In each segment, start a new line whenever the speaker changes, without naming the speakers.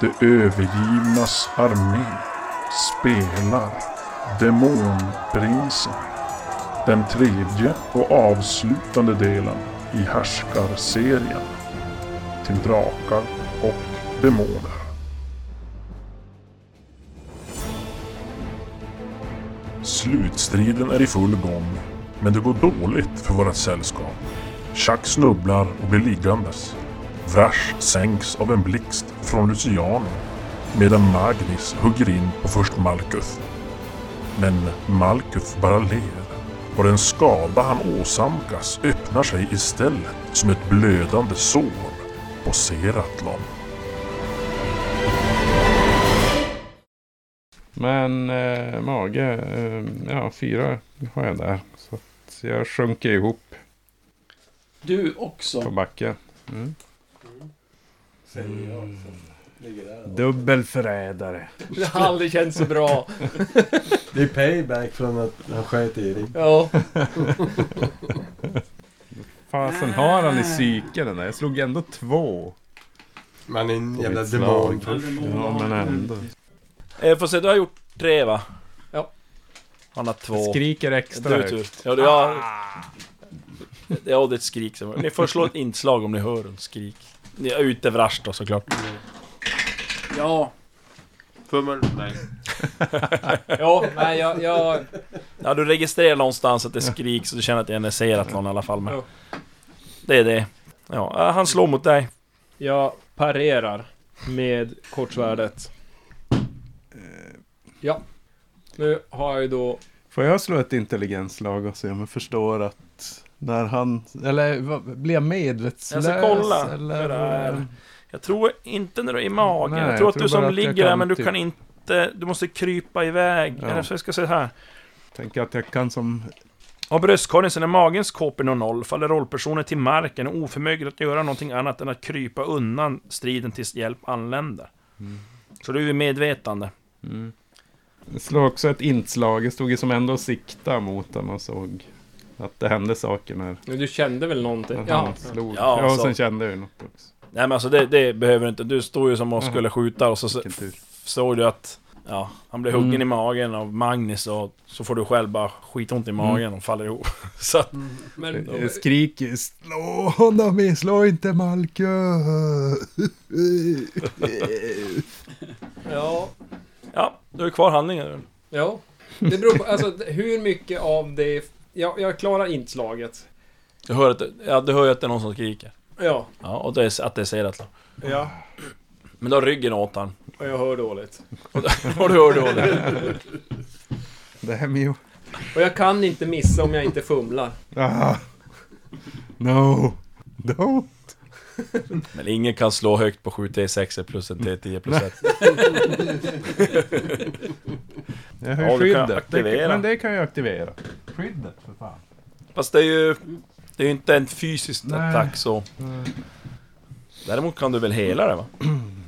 De övergivnas armé spelar Demonprinsen. Den tredje och avslutande delen i Härskarserien. Till drakar och demoner. Slutstriden är i full gång, men det går dåligt för vårt sällskap. Chuck snubblar och blir liggandes. Vrash sänks av en blixt från Luciano medan Magnus hugger in på först Malkuth. Men Malkuth bara ler och den skada han åsamkas öppnar sig istället som ett blödande sår på Seratlon.
Men eh, mage, eh, ja fyra har jag där. Så att jag sjunker ihop
Du
på
också.
backen. Mm.
Säger jag som ligger där.
Dubbel förrädare.
Det har aldrig känts så bra.
Det är payback från att han sköt Erik.
Ja.
Fasen har han i psyke den där? Jag slog ändå två.
Man är en
På
jävla
mitt slag.
demon.
Ja men ändå.
Eh, får se, du har gjort tre va?
Ja.
Han har två.
Skriker
Du
extra
är
högt.
tur. Ja, du har... Ja, det är ett skrik som... Ni får slå ett inslag om ni hör en skrik. Ni är ute vrascht då såklart.
Ja.
Fummel? Nej.
Ja, nej jag... jag
Ja, du registrerar någonstans att det skriks och du känner att det är en Seratlon i alla fall men...
Ja.
Det är det. Ja, eh, han slår mot dig.
Jag parerar med kortsvärdet.
Eh.
Ja. Nu har jag ju då...
Får jag slå ett intelligensslag och se om jag förstår att när han... Eller vad- blir jag medvetslös?
Jag ska kolla.
Eller,
Det där. Jag tror inte när du är i magen.
Nej,
jag
jag
tror att
tror
du som
bara att jag
ligger där
kan
men du
typ-
kan inte... Du måste krypa iväg.
Ja.
Eller så jag ska säga så här.
Tänker att jag kan som...
Av bröstkorgen sen är magens KP når noll faller rollpersonen till marken och oförmögen att göra någonting annat än att krypa undan striden tills hjälp anländer.
Mm.
Så du är ju medvetande.
Jag slår också ett inslag. Jag stod ju som ändå och siktade mot honom och såg att det hände saker när
Men Du kände väl någonting?
när han
Ja.
slog.
Ja,
Ja, och
så-
sen kände jag ju något också.
Nej men alltså det, det behöver du inte. Du står ju som och
Mhm.
skulle skjuta och så så-
Vilken tur.
såg du att ja, han blev huggen
Mm.
i magen av Magnus och så får du själv bara skitont i magen
Mm.
och faller ihop. Så att,
Men,
Jag skriker slå honom i, slå inte Malkö.
ja.
ja, du är kvar handlingen.
Ja. Det beror på, alltså hur mycket av det... Jag, jag klarar inslaget.
Du hör att, det- ja, du hör ju att det är någon som skriker.
Ja.
Ja, och det är, att det är Seratlon.
Ja.
Men du har ryggen åt han.
Och jag hör dåligt.
Och du hör då det.
Det här med ju...
Och jag kan inte missa om jag inte fumlar.
Ah. No. No.
Men ingen kan slå högt på 7 T6 plus en T10 plus 1.
Jag har
Ja,
ju
du kan
skyddet.
aktivera.
Det, men det kan jag aktivera. Skyddet för fan.
Fast det är ju... Det är ju inte en fysisk
Nej.
attack så... Däremot kan du väl hela det va?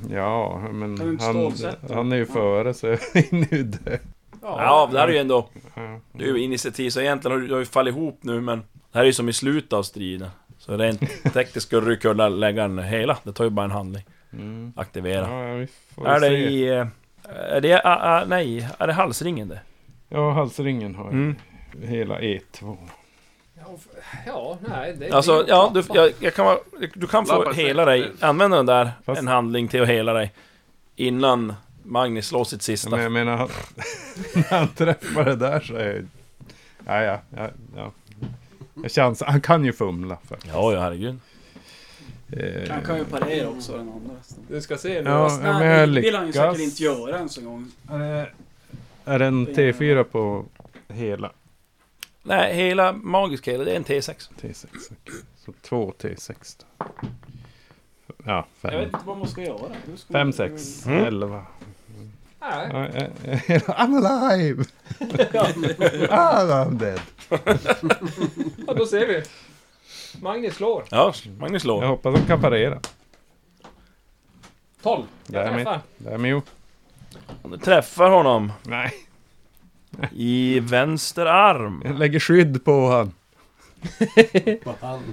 Ja, men
Kan du inte
han,
stålsätta?
han är ju före så jag är nu död.
Ja, det här är ju ändå...
Mm.
Det är ju initiativ, så egentligen har du, du har ju fallit ihop nu men... Det här är ju som i slutet av striden. Så rent tekniskt skulle du kunna lägga en hela. Det tar ju bara en handling.
Mm.
Aktivera.
Ja, vi får
är det
se.
i... eh, Är det... ah, ah, nej, är det halsringen det?
Ja, halsringen har jag.
Mm.
Hela E E2.
Ja, nej. Det,
Alltså,
det-
ja, du, jag, jag kan vara, du kan få
Lappa
hela
sig.
dig, använda den där,
Fast-
en handling till att hela dig. Innan Magnus slår sitt sista.
Men jag menar, han, när han träffar det där så är jag- ja, ja, ja, ja. Jag chansar. Han kan ju fumla. För.
Ja, ja, herregud.
Eh,
Han kan ju parera också den andra.
Du ska se nu.
Ja,
alltså.
men
Nej,
jag
det vill han ju
lyckas.
säkert inte göra ens en gång.
Eh, är det en T4 på hela
Nej, hela magiska hela, det är en T6.
T6? okej. Så två T6 då. Ja,
Jag vet
fem.
inte vad man ska göra. Hur ska
Fem,
man-
sex,
Mm.
elva.
Nej.
Ja, eh, eh, I'm alive! ah, I'm dead.
Ja, då ser vi. Magnus slår.
Ja, Magnus slår.
Jag hoppas han kan parera.
12. Jag
Därmed,
träffar.
därmed jo.
Om Du träffar honom
Nej,
i vänster arm.
jag lägger skydd på han.
På hand.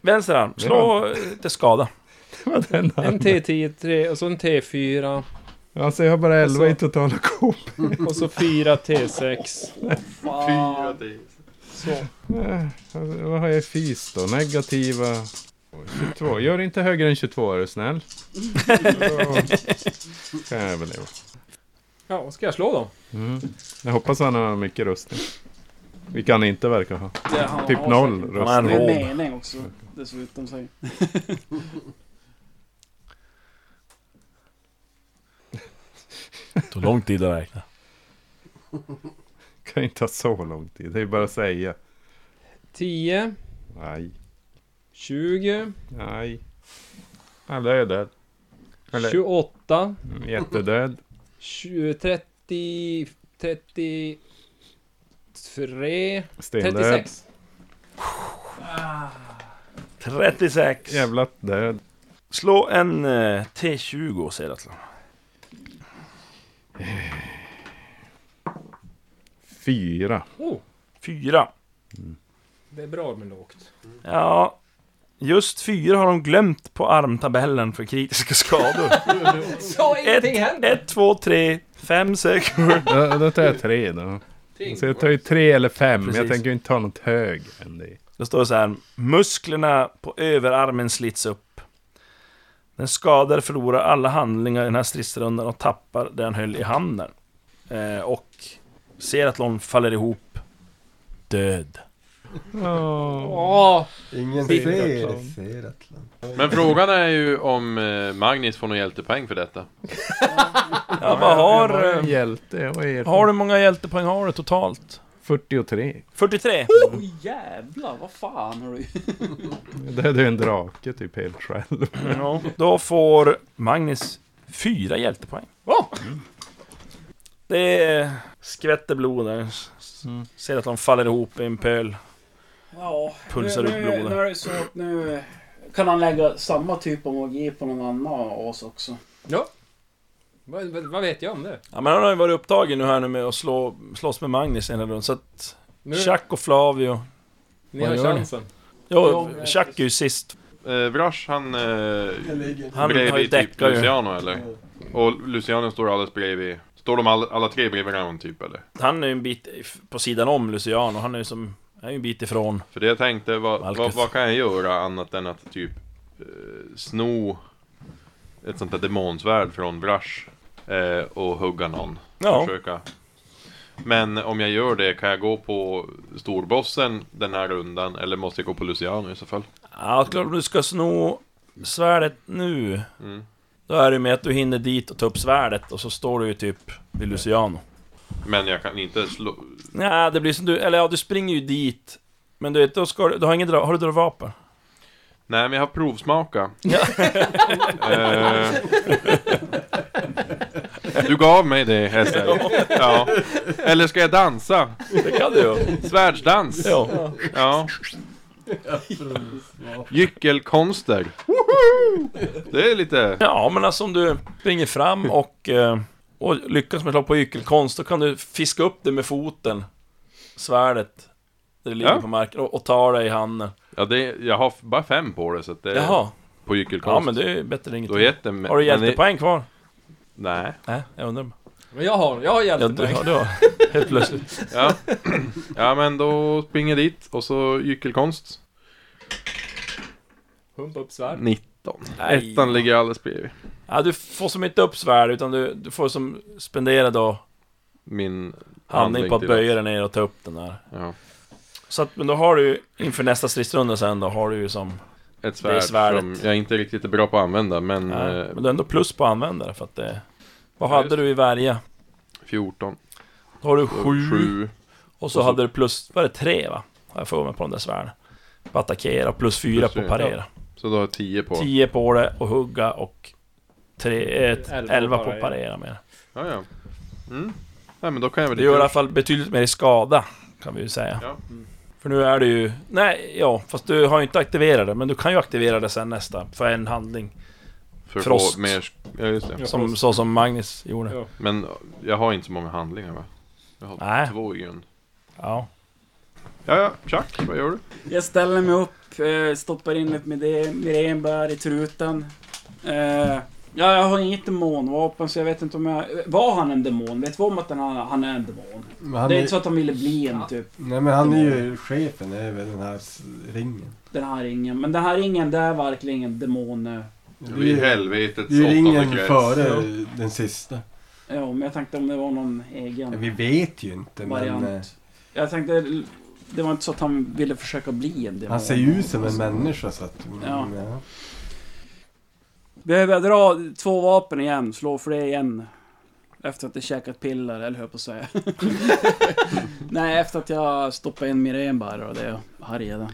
Vänster arm, slå eh, till skada.
vad den har.
En T10 tre, och så en T4
Alltså jag har bara 11 i
Och
totala kop.
och så fyra T6.
Fyra till.
Så.
Eh, alltså, Vad har jag i fis då? Negativa... 22. Gör inte högre än 22 är du snäll. Då kan jag överleva.
Ja, vad ska jag slå då?
Mm. Jag hoppas han har mycket rustning. Vilka han inte verkar ha.
Det han
Typ
har
noll
Han
säkert.
har en
Det är
rob.
mening också dessutom. säger-
Tog lång tid att räkna.
Kan inte ha så lång tid. Det är ju bara att säga.
10,
Nej.
20,
Nej. Alla är död. Eller
28,
jättedöd.
20, 30, 33,
Stendöd.
36.
36!
Jävla död.
Slå en eh, T20 Seratlan.
Fyra.
Oh,
Fyra.
det är bra med lågt.
Ja, just fyra har de glömt på armtabellen för kritiska skador.
Så ingenting händer!
Ett, två, tre, fem, sex, sju.
Då, då tar jag tre då. Så jag tar ju tre eller fem. men Jag
Precis.
tänker ju inte ta något hög än det.
Då står det så här. Musklerna på överarmen slits upp. Den skadade förlorar alla handlingar i den här stridsrundan och tappar det han höll i handen. Eh, och Seratlon faller ihop. Död.
Åh.
Åh,
Ingen
Fint.
ser Seratlan.
Men frågan är ju om eh, Magnus får någon hjältepoäng för detta.
Ja, vad
Jag var
eh,
har... eh,
en hjälte. Jag var er.
Har du många hjältepoäng har du totalt?
43.
43?
Åh jävlar, vad fan har du
Jag dödade ju en drake typ helt själv.
Mm, Ja. Då får Magnus fyra hjältepoäng. Mm. Det skvätter blod där. Ser att de faller ihop i en pöl.
Ja,
Pulsar
nu,
upp
nu,
blodet.
nu är det så att nu kan han lägga samma typ av magi på någon annan as också.
vad, vad, vad vet jag om det?
Ja, men han har ju varit upptagen nu här nu med att slå, slåss med Magnus i en runda, så att...
Nu,
Chuck och Flavio...
ni
vad
har
gör ni?
chansen.
Jo, Chuck är ju sist.
Eh, Vrash han... Eh,
Jag ligger.
Han
bredvid
har ju
typ
däckat ju.
Luciano eller? Och Luciano står alldeles bredvid... Står de alla, alla tre bredvid varandra typ eller?
Han är ju en bit på sidan om Luciano, han är ju som... Han är ju en bit ifrån.
För det jag tänkte, vad,
Marcus.
vad, vad kan jag göra annat än att typ eh, sno ett sånt där demonsvärd från Vrash eh, och hugga någon?
Ja,
Försöka. Men om jag gör det, kan jag gå på storbossen den här rundan? Eller måste jag gå på Luciano i så fall?
ja klart om du ska sno svärdet nu.
Mm.
Då är det ju med att du hinner dit och tar upp svärdet och så står du ju typ vid Luciano.
Men jag kan inte slå...
Nej, det blir som du, eller ja, du springer ju dit. Men du vet, då ska du, du har ingen dra, har du dragvapen?
Nej, men jag har provsmaka.
Ja.
eh, du gav mig det, Hesse. Ja. Eller ska jag dansa?
Det kan du ju.
Svärdsdans?
Ja.
Ja. Gyckelkonster. Det är lite...
ja, men alltså om du springer fram och, eh, och lyckas med att slå på ykelkonst, då kan du fiska upp det med foten, svärdet, där det ligger
Ja.
på marken, och, och ta det i handen.
Ja, det, jag har f- bara fem på det, så att det är
Jaha,
på
ja
gyckelkonst.
men det är ju bättre än
Då
ingenting.
heter det...
Har du hjältepoäng kvar?
Nej.
Nej, jag undrar.
Men jag har, jag har
Ja, du
hjältepoäng.
har, du har. Helt plötsligt.
Ja. ja, men då springer jag dit och så gyckelkonst.
Pumpa upp svärd.
19.
Nej.
Ettan ligger alldeles bredvid.
Ja, du får som inte upp svärd, utan du, du får som spendera då
Min...
handling på att
till-
böja dig ner och ta upp den där.
Ja.
Så att, men då har du ju inför nästa stridsrunda sen då har du ju
Mm.
som...
Ett
Det är
svärd
svärdet.
som jag inte riktigt är bra på att använda, men...
Nej,
eh,
men du är ändå plus på användare för att det... Vad
Ja,
hade
just
du i värja?
14.
Då har du
och
sju,
sju.
och så
och så-
hade du plus... Vad är det? Tre va? Har jag för mig på de där svärden. På attackera, plus fyra
Plus
på
fyra,
parera.
Så då har jag 10 på.
Tio på det och hugga och... Tre, ett,
Elva på
elva på
parera.
parera med det.
Ja, ja. Mm. Nej, men då kan jag väl
Det gör i alla fall betydligt mer skada, kan vi ju säga.
Ja.
För nu är det ju... Nej, ja, fast du har ju inte aktiverat det, men du kan ju aktivera det sen nästa, för en handling.
För att
Frost.
få mer... Ja, just det.
Ja.
Som, så som Magnus gjorde.
Ja.
Men jag har inte så många handlingar va? Jag har
Nej.
två i grund.
Ja.
Ja, ja. Chuck, vad gör du?
Jag ställer mig upp, eh, stoppar in ett med- mirenbär i truten, Eh, ja, jag har inget demonvapen så jag vet inte om jag... Var han en demon? Vet vi om att den här, han är en demon?
Men han
det är
är,
inte så att han ville bli en typ.
nej men han är ju chefen över den här s- ringen.
Den här ringen. Men den här ringen, det är verkligen ingen demon. eh.
Det är
Vi är
ju-
helvetets
det är ju ringen
åttonde krets.
före
Ja.
den sista.
Ja, men jag tänkte om det var någon egen
Vi vet ju inte men...
variant.
eh,
Jag tänkte... Det var inte så att han ville försöka bli en demon.
eh, Han ser ju ut som en människa så att...
Ja.
ja.
Behöver jag dra två vapen igen? Slå för det igen? Efter att jag käkat piller, eller hur jag på att säga. Nej, efter att jag stoppade in Mirén bara och det härjade.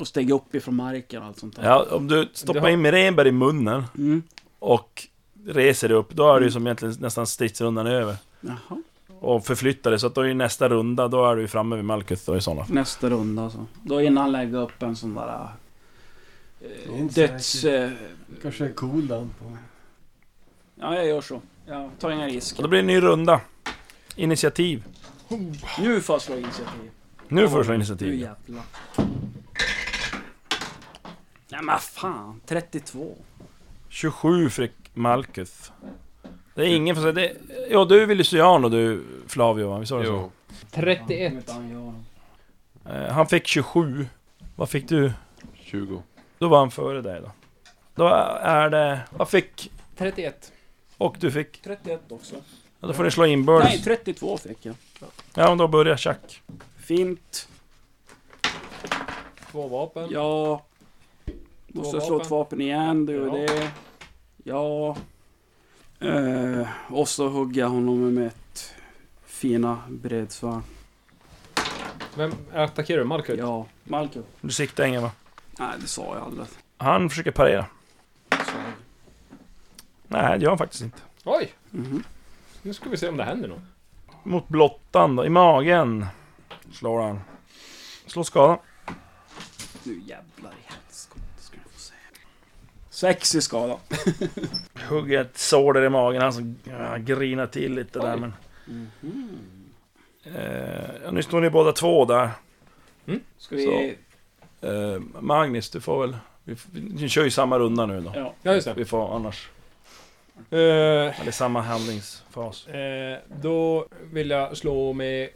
Och steg upp ifrån marken och allt sånt där.
Ja, om du
Det har-
stoppar in Renberg i munnen
Mm.
och reser dig upp, då
Mm.
är det ju som egentligen nästan stridsrundan är över.
Jaha.
Och förflyttar dig, så att då är ju nästa runda, då är du ju framme vid Malkuth då i sådana fall.
Nästa runda alltså. Då innan han lägger upp en sån där...
Det är
Eh,
inte
döds...
säkert.
Eh,
Kanske är cool down på.
ja, jag gör så. Jag tar inga
Och
risker.
då blir det en ny runda. Initiativ.
Nu får jag slå initiativ.
Nu får du slå
Nu
initiativ.
jävlar. Nej men fan, 32.
27 för Malkuth. Det är ingen för sig. Det... Ja, du är Velusian och du Flavio, va? Vi sa det så?
Jo.
31.
Eh, Han fick 27. Vad fick du?
20.
Då var han före dig då. Då är det... Vad fick...
31.
Och du fick...
31 också.
Ja, Då får ni slå inbördes.
Nej, 32 fick jag.
Ja, men då börjar Chuck.
Fint.
Två vapen.
Ja. Måste
Två
slå
vapen.
ett vapen igen, du och
Ja.
det. Ja. Eh, och så hugger jag honom med ett fina bredsvärd.
Vem attackerar du? Malkut?
Ja, Malcolm.
Du siktar ingen va?
Nej, det sa jag aldrig.
Han försöker parera.
Så.
Nej, det gör han faktiskt inte.
Oj!
Mhm.
Nu ska vi se om det händer något.
Mot blottan då, i magen. Slår han. Slå skada.
Nu jävlar i helskotta ska du få se. Sex i skada.
Hugger ett sår där i magen. Han som ja, grinar till lite där
Oj. Mhm.
men... Eh, ja, nu står ni båda två där.
Ska vi...
Eh, Magnus, du får väl... Vi, vi, vi kör ju samma runda nu då.
Ja.
Ja, just det.
Vi får annars...
Eh,
Eller samma handlingsfas.
Eh, då vill jag slå med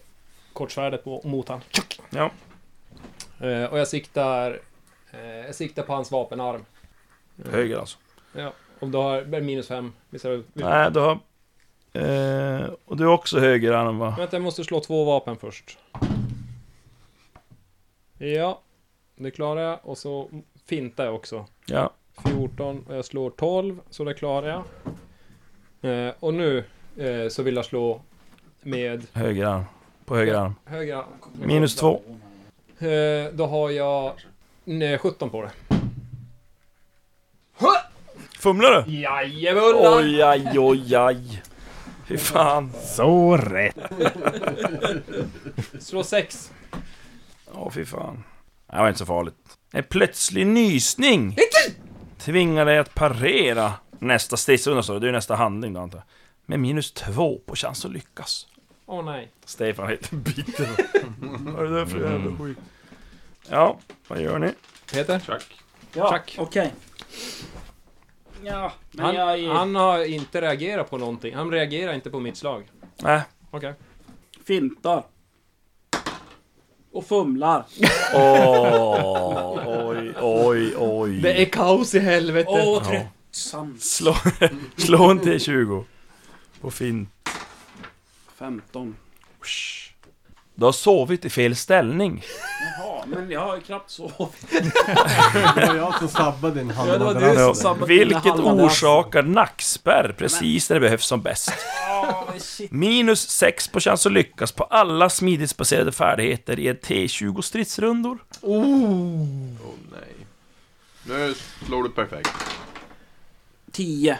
kortsvärdet på, mot han. Tjock!
Ja.
Eh, och jag siktar, eh, jag siktar på hans vapenarm.
Höger alltså.
Och då har det minus fem. Visst är det-
Nej, du har... Eh, och du är också högerarm va?
Vänta, jag måste slå två vapen först. Ja, det klarar jag. Och så fintar jag också.
Ja.
14 och jag slår 12, så det klarar jag. Eh, och nu eh, så vill jag slå med
Höger arm. På höger arm.
högra...
Minus två.
Eh, då har jag nej, 17 på det.
Fumlar du?
Jajebullar!
Oj, aj, oj, aj. Fy fan.
Så rätt.
Slå sex.
Åh, fy fan. Det var inte så farligt. En plötslig nysning tvingar dig att parera nästa stridsrunda, så det är ju nästa handling då antar jag. Med minus två på chans att lyckas.
Åh nej.
Stefan heter biten. Vad är det där för jävla skit? Mm. Ja, vad gör ni?
Peter?
Chuck.
Ja,
Tack.
okej. Ja, men
Han,
jag... är-
han har inte reagerat på någonting. Han reagerar inte på mitt slag.
Nej.
Okej.
fintar. Och fumlar.
Åh, oj, oj, oj.
är kaos i helvete.
Och
Ja.
tröttsamt.
Slå, slå en T20. På fint.
15.
Du har sovit i fel ställning.
Jaha, men jag har ju knappt sovit.
Det var jag som sabbade din
Ja, det var
handmadrass.
du som sabbade
Vilket
mina halva
orsakar nackspärr precis där det behövs som bäst.
dagar. Åh, shit.
Minus 6 på chans att lyckas på alla smidighetsbaserade färdigheter i ett T20 stridsrundor.
Åh nej. Nu slår du perfekt.
10.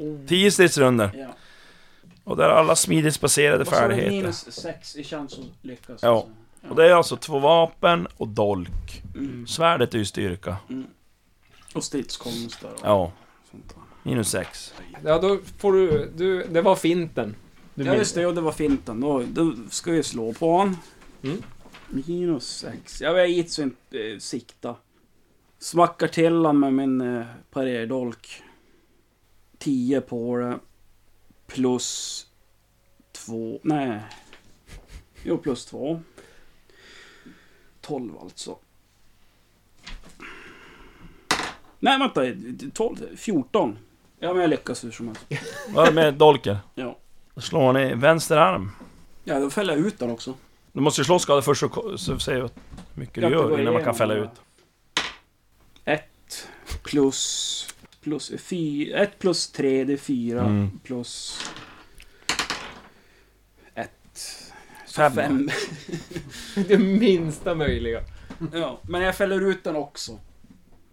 Mm.
10 stridsrundor.
Ja.
Och där alla smidighetsbaserade
Och så är det
färdigheter.
minus 6 i chans att lyckas.
Ja.
alltså.
Och det är alltså två vapen och dolk.
Mm.
Svärdet är ju styrka.
Och stridskonster och
Ja,
sånt där.
minus 6.
Ja, då får du... du det var finten. Du
Ja
min-
just det, ja, det var finten. Då, då ska vi slå på honom.
Mm.
Minus 6. Ja, men jag gissar inte eh, sikta. Smackar till honom med min eh, pareradolk. 10 på det. Plus 2. Nej. Jo, plus 2. 12 alltså. Nej, vänta. 12, 14. Ja, men jag lyckas hur som helst.
Vad är det med dolken?
Ja.
Då slår ni vänster arm.
Ja, då fäller jag ut den också.
Du måste ju slå skada först så, ko- så ser vi hur mycket du
Jag går
gör innan man
igenom
kan fälla
det.
ut.
Ett plus... Plus fy, ett plus tre, det är fyra.
Mm.
Plus... Ett. Så
Fem.
fem.
Det minsta möjliga.
Ja, men jag fäller ut den också.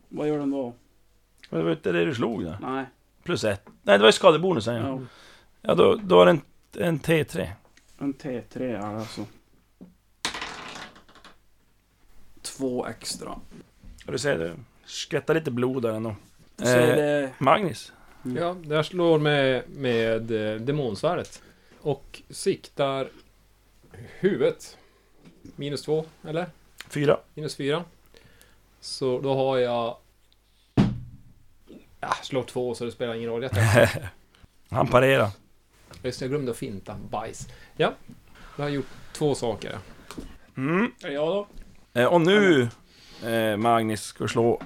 Vad gör den då?
Men Det var inte det du slog där.
Nej.
Plus ett. Nej, det var ju skadebonusen ja.
Ja.
Ja, då, då är det en, en T3.
En T3 är alltså. Två extra.
Och du ser, det skvättar lite blod där ändå.
Så är
Eh.
det...
Magnus.
Ja, jag slår med, med eh, demonsvärdet. Och siktar huvudet. Minus två, eller?
Fyra.
Minus fyra. Så då har jag... Ja, slår två så det spelar ingen roll. Jag tar-
Han parerar.
Just det, jag glömde att finta. Bajs. Ja, då har jag gjort två saker.
Mm.
Är det jag då?
Eh, och nu, eh, Magnus, ska du slå...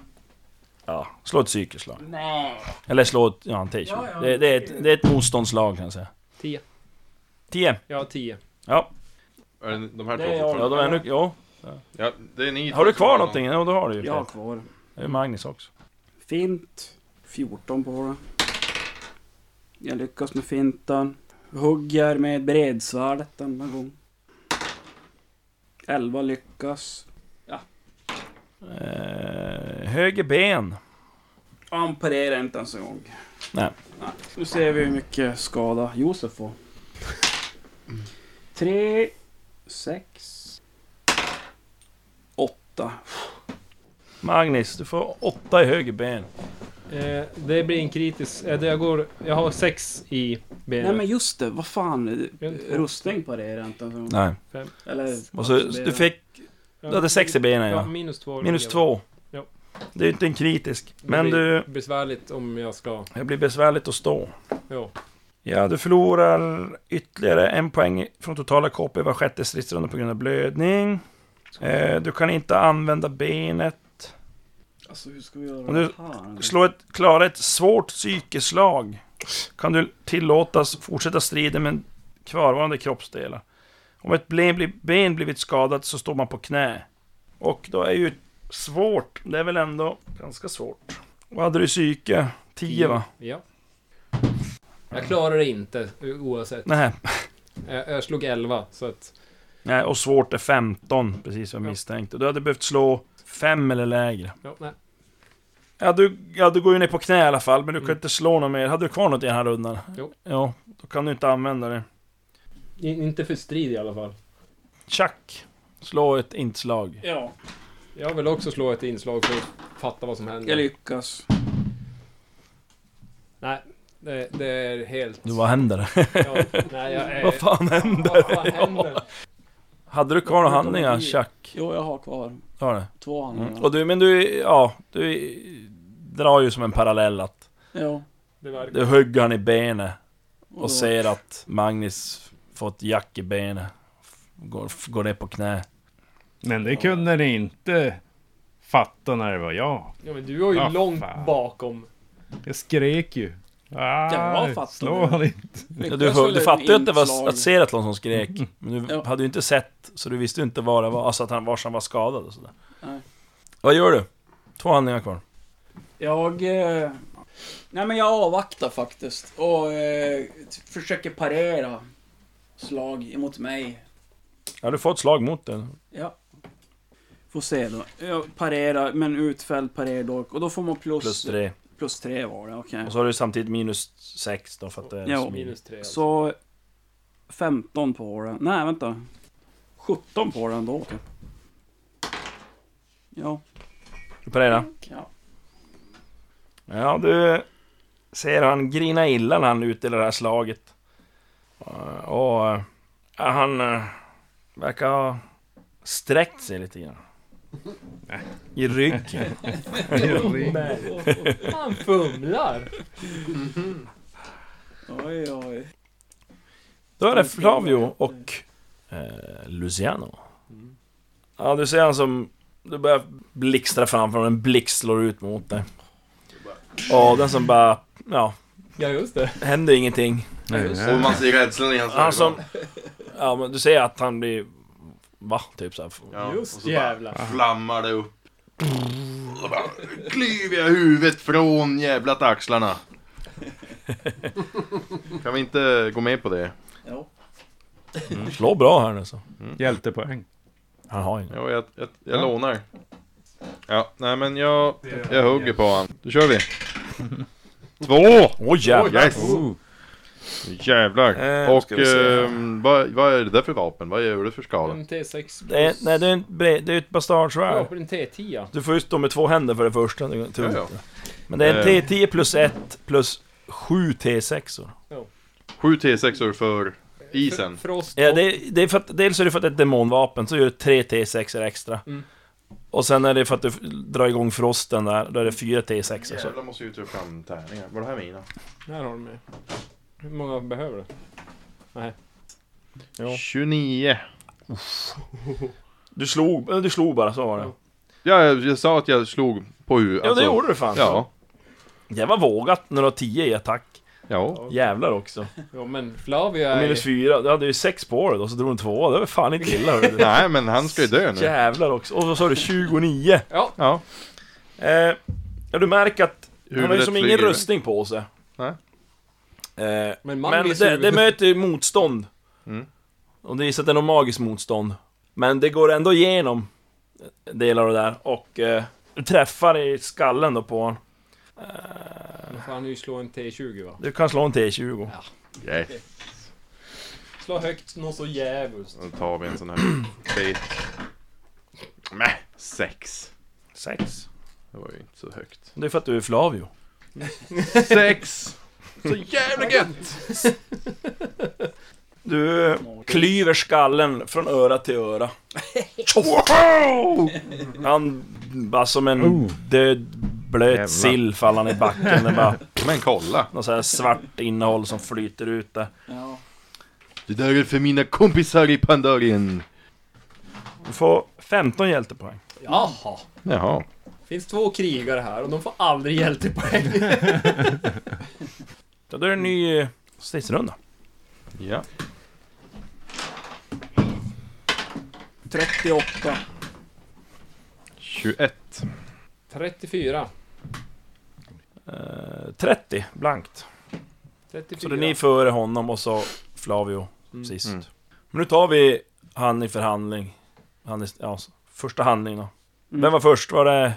Ja, slå ett psykiskt slag.
Nej.
Eller slå ett... Ja, en T20.
Ja, ja.
det, det, är ett, det är ett motståndslag kan jag säga.
Tio.
10.
Jag har tio.
Ja.
Är det de här
Det
två
är
som tar-
jag.
Ja, de är nu, ja.
ja, det är ni
Har
två
du
som
kvar
har
någonting? Ja, då har du ju.
Jag har kvar.
Det är Magnus också.
Fint. 14 på det. Jag lyckas med fintan. Hugger med bredsvärdet denna gång. 11 lyckas.
Eh, höger ben.
Han parerar inte ens en gång.
Nej.
Nej. Nu ser vi hur mycket skada Josef får. 3, 6, 8.
Magnus, du får åtta i höger ben.
Eh, det blir en kritisk... Eh, det jag, går, jag har sex i
Nej
benet.
men just det, vad fan.
En, två.
Rustning parerar inte ens en gång.
Nej.
Eller...
Och så, du fick... Du hade sex i benen
Ja,
ja.
minus två.
Minus två.
Ja.
Det är ju inte en kritisk.
Det
Men
blir
du...
Besvärligt om jag ska...
Det blir besvärligt att stå.
Ja.
Ja, du förlorar ytterligare en poäng från totala KP var sjätte stridsrunda på grund av blödning. Eh, du kan inte använda benet.
Alltså hur ska vi göra
Och nu-
det här?
Slå ett, klara ett svårt psykeslag. Kan du tillåtas fortsätta striden med kvarvarande kroppsdelar. Om ett ben, blir, ben blivit skadat så står man på knä. Och då är ju svårt, det är väl ändå ganska svårt. Vad hade du i psyke? 10 va?
Ja. Jag klarar det inte oavsett.
Nej.
Jag, jag slog 11 så att...
Nej, och svårt är 15, precis som jag
Ja.
misstänkte. Du hade behövt slå 5 eller lägre.
Ja, nej.
Ja du, ja, du går ju ner på knä i alla fall, men du kan
Mm.
inte slå något mer. Hade du kvar något i den här rundan?
Jo.
Ja, då kan du inte använda det.
I- Inte för strid i alla fall.
Tjack! Slå ett inslag.
Ja,
Jag vill också slå ett inslag för att fatta vad som händer.
jag lyckas.
Nej, det, det är helt...
Du, vad händer?
Ja, nej, jag är...
vad fan händer?
Vad fan händer?
Hade du kvar några
Jag vet inte om
handlingar,
det blir-
Tjack?
Jo, jag har kvar
Du Har det?
två handlingar.
Mm. Och du, men du, ja, du drar ju som en parallell att
Ja.
Det verkar...
du hugger han i benet
Och,
och ser att Magnus får ett jack i benet. Går, går ner på knä.
Men det kunde ni inte fatta när det var jag.
Ja, men du var ju
Ah,
långt
fan.
bakom.
Jag skrek ju. Ah,
Ja, jag fattar
slå
det.
han inte.
Ja, du, hör, du fattade ju att det var att
se...
Seratlon som skrek, men du
Ja.
hade ju inte sett, så du visste ju inte var det var, alltså att han, vars han var skadad och sådär.
Nej.
Vad gör du? Två handlingar kvar.
Jag... Eh... Nej, men jag avvaktar faktiskt. Och eh, t- försöker parera slag emot mig.
Ja, du får ett slag mot den.
Ja. Får se då. Jag parerar, men utfälld parerdolk. Och då får man plus...
Plus tre.
Plus tre var det, okej.
Och så har du samtidigt minus sex då för att det är
Ja.
smidigt.
Minus 3.
Så... 15 på den. Nej, vänta. 17 på den då, typ. Ja.
Du parerar.
ja.
Ja, du ser han grina illa när han utdelar det här slaget. Eh, Och eh, ja, han eh, verkar ha sträckt sig lite grann. I ryggen.
Han fumlar!
Oj, oj.
Då är det Flavio och eh, Luciano. Ja, du ser han som... Du börjar blixtra framför honom, en blixt slår ut mot dig. Och den som bara... Ja,
Ja, just det.
händer ingenting.
Och man ser rädslan i hans
Han som...
ögon.
Ja, men du ser att han blir... Va? Typ såhär.
Ja, och
Just
så
jävlar.
bara flammar det upp. Och bara Klyver jag huvudet från jävla axlarna. Kan vi inte gå med på det?
Ja.
Slå bra här nu så.
Hjältepoäng.
Han har ingen.
Jo, jag, jag, jag lånar. Ja, nej men jag, jag hugger på han. Då kör vi. Två!
Åh jävlar!
Yes! Oh. Jävlar.
Eh,
Och
ska vi se. Mm.
ehm, vad, vad är det där för vapen? Vad gör du för skala?
En T6
Det är,
plus...
nej, det är, en bre- det är ett
Ja,
bastardsvärd.
på en T10.
Du får ju stå med två händer för det första. Det är tungt.
Ja,
Men det är en
Eh.
T10 plus 1 plus 7 T6.
Sju T6or för isen.
Frost
Ja,
och-
det, är- det är för att, dels är det för att det är ett demonvapen, så gör det 3 T6 extra.
Mm.
Och sen är det för att du f- drar igång frosten där, då är det 4 T6. Så.
Jävlar måste ju ta fram tärningar. Var det här mina?
Här har de med. Hur många behöver du? Ja.
29.
Du, slog, eh, du slog bara, så var det.
Ja.
Ja, jag, jag sa att jag slog på huvudet.
ja, det gjorde du fan.
Alltså, Ja.
Det var vågat när du har 10 i attack.
Ja.
Jävlar också.
Ja, men Flavia
Och
är...
minus 4, du hade ju 6 på dig då, så drog du en 2 Det var fan inte illa hörru.
Nej, men han ska ju dö nu.
Jävlar också. Och vad sa du, 29?
Ja,
Ja.
Eh, ja, du märker att han har ju
Huvudet
som ingen
flyger.
rustning på sig.
Nej.
Eh,
men
men
Magnus...
det, det möter ju motstånd.
Mm.
Och det visar att det är något magiskt motstånd. Men det går ändå igenom delar av det där och eh, du träffar i skallen då på honom. Eh,
Nu får han ju slå en T20 va?
du kan slå en T20.
Yes.
Slå högt, något så djävulskt.
Då tar vi en sån här fet. Mäh, sex.
6.
Det var ju inte så högt.
Det är för att du är Flavio.
Sex! Så jävla gött!
Du eh, klyver skallen från öra till öra. Han bara som en död blöt
Oh. Jävlar.
sill faller han i backen. Det är bara
Men kolla!
något så här svart innehåll som flyter ut där.
ja.
Det där är för mina kompisar i Pandarien.
Du får 15 hjältepoäng.
Jaha!
Jaha.
Finns två krigare här och de får aldrig hjältepoäng.
Då är det en ny eh, stridsrunda.
Ja.
38.
21.
34.
Eh, 30 blankt.
34.
Så det är ni före honom och så Flavio
Mm.
sist.
Mm.
Men nu tar vi han i förhandling. Han i, ja, första handling då.
Mm.
Vem var först? Var det...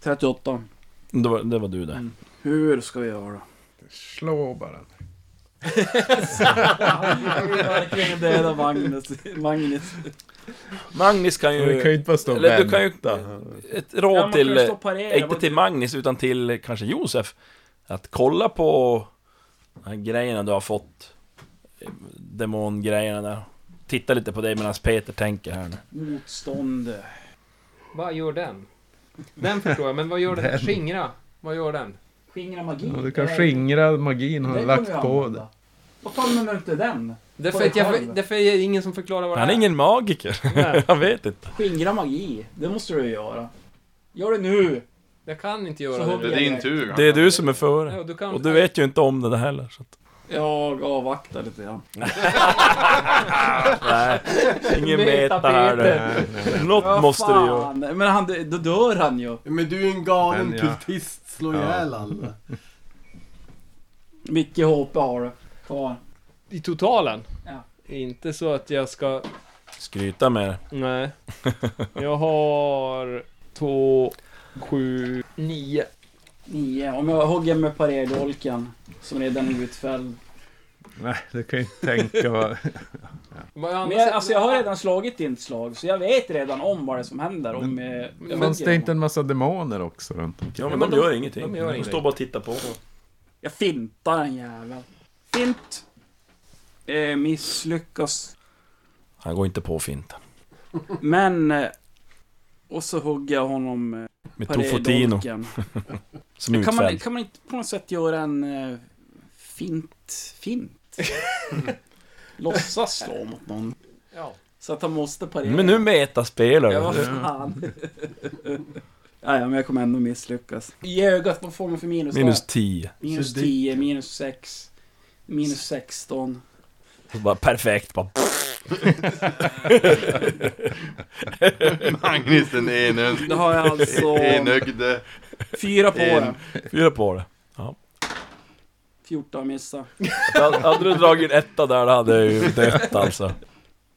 38.
Det var, det var du där.
Mm. Hur ska vi göra?
Slå bara.
Jag vill verkligen döda Magnus. Magnus.
Magnus kan
Du
ju...
kan ju inte bara stå och
eller du kan
vänta.
ju... Ett råd till... eh,
parera.
Inte till Magnus utan till eh, kanske Josef. Att kolla på de här grejerna du har fått. eh, Demongrejerna där. Titta lite på dig medan Peter tänker här nu.
Motstånd.
Vad gör den? Den förstår jag, men vad gör den? Skingra. Vad gör den?
Skingra magin.
Ja, du kan
Det-
skingra magin han har
det kommer
lagt
jag
på
använda.
dig.
Vad fan menar du inte den?
Därför,
På dig
att jag,
själv.
därför är det ingen som förklarar vad
Han är
det
ingen magiker.
Nej.
Han vet inte.
Skingra magi. Det måste du göra. Gör det nu.
Jag kan inte göra
Så
Det
det.
är din tur.
Det är du som är före.
Ja, du kan...
Och du vet ju inte om det där heller. Så att,
Jag avvaktar lite grann.
nej, ingen meta här du.
Meta-Peter.
Något måste du göra.
Fan, Men han, då dör han ju.
Men du är ju en galen
Men ja.
kultist. Slå
Ja.
ihjäl alla.
Mycket HP har du kvar.
I totalen?
Ja.
Inte så att jag ska...
Skryta med det.
Nej. Jag har... Två... Sju... Nio.
Nio. Om jag hugger med parerdolken som redan är utfälld.
Nej, du kan ju inte tänka vad...
Men
Men jag, alltså jag har redan slagit ditt slag så jag vet redan om vad det är som händer om... eh, jag
Fanns
hugger
det inte en massa demoner också runt omkring?
Ja, men,
men
de,
de-
gör ingenting.
de
De,
gör ingenting.
står bara och tittar på.
Jag fintar den jäveln. Fint. Eh, misslyckas.
Han går inte på finten.
Men... Eh, och så hugger jag honom eh,
Med Tofotino
parejdolken.
som
Kan man,
utfälld.
kan man inte på något sätt göra en eh, fint, fint. Låtsas slå mot någon.
Ja.
Så att han måste parera.
Men nu metaspelar
Ja, vad
du.
fan. ja, ja, men jag kommer ändå misslyckas. I ögat, vad får man för minus? då?
Minus 10.
minus
Så det-
10, minus 6, minus 16.
Så bara perfekt. Bara.
Magnus den enögde.
Då har jag alltså
Enögde.
fyra på
En.
det.
Fyra på det.
14 missa.
Hade hade du dragit en etta där, då hade jag ju dött alltså.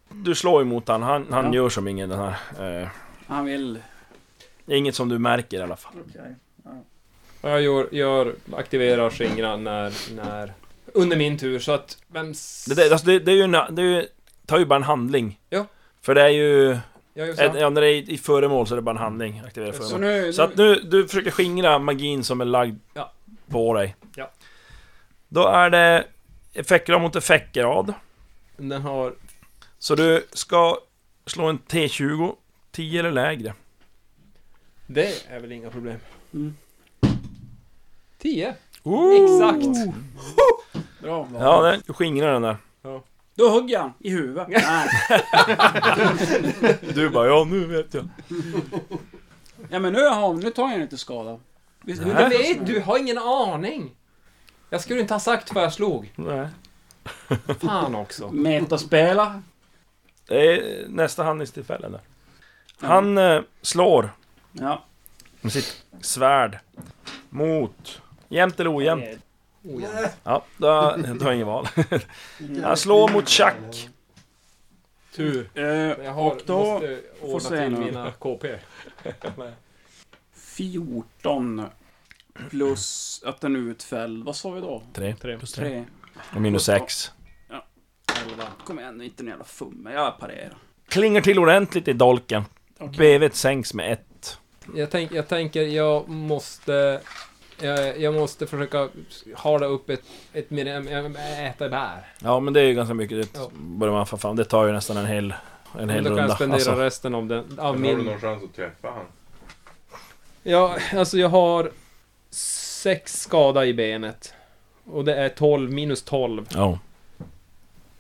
Du slår emot han, han, han
Ja.
gör som ingen den här. Eh,
Han vill...
inget som du märker i alla fall.
Okej.
Och jag gör, gör, aktiverar skingran när, när... Under min tur, så att... Vem... s-
Det, där, alltså, det, det är ju en, det är ju, tar ju bara en handling.
Ja.
För det är ju...
Jag gör så.
Ett, ja, när det är i i föremål så är det bara en handling. Aktivera
så
föremål.
nu...
Så att nu, du försöker skingra magin som är lagd
Ja.
på dig.
Ja.
Då är det effektrad mot effektrad.
Den har...
Så du ska slå en T20, 10 eller lägre.
Det är väl inga problem.
Mm.
10.
Exakt! Bra.
Ja, det, du skingrar den där.
Då hugger jag han i huvudet. Nej.
Du bara, ja nu vet jag.
Ja men nu, har, hon- nu tar jag inte skada. Visst, hur-
Jag vet, du har ingen aning! Jag skulle inte ha sagt vad jag slog.
Nej.
Fan också.
Metaspela.
Det är nästa handlingstillfälle där. Han eh, slår
Ja.
med sitt svärd mot... Jämnt eller ojämnt?
Oh,
Ja, då då har jag inget val. Han slår mot Chuck.
Tur.
Eh,
Jag har,
Och då
måste
får
ordna
se
till
nu.
mina KP.
14 plus att den utföll. Vad sa vi då?
Tre.
Tre.
Plus tre.
3.
Och minus sex.
11. Kom igen, inte nu jävla fumme. Jag parerar.
Klingar till ordentligt i dolken. BV't sänks med ett.
Jag, tänk, jag tänker, jag måste... Jag, jag måste försöka harda upp ett, ett medium, jag- äta bär.
Ja, men det är ju ganska mycket. Det
Ja.
börjar man få fram. Det tar ju nästan en hel, en hel
Då kan jag
runda.
spendera
Alltså,
resten av den, av
Har du
min...
någon chans att träffa han?
Ja, alltså jag har sex skada i benet. Och det är 12 minus 12.
ja.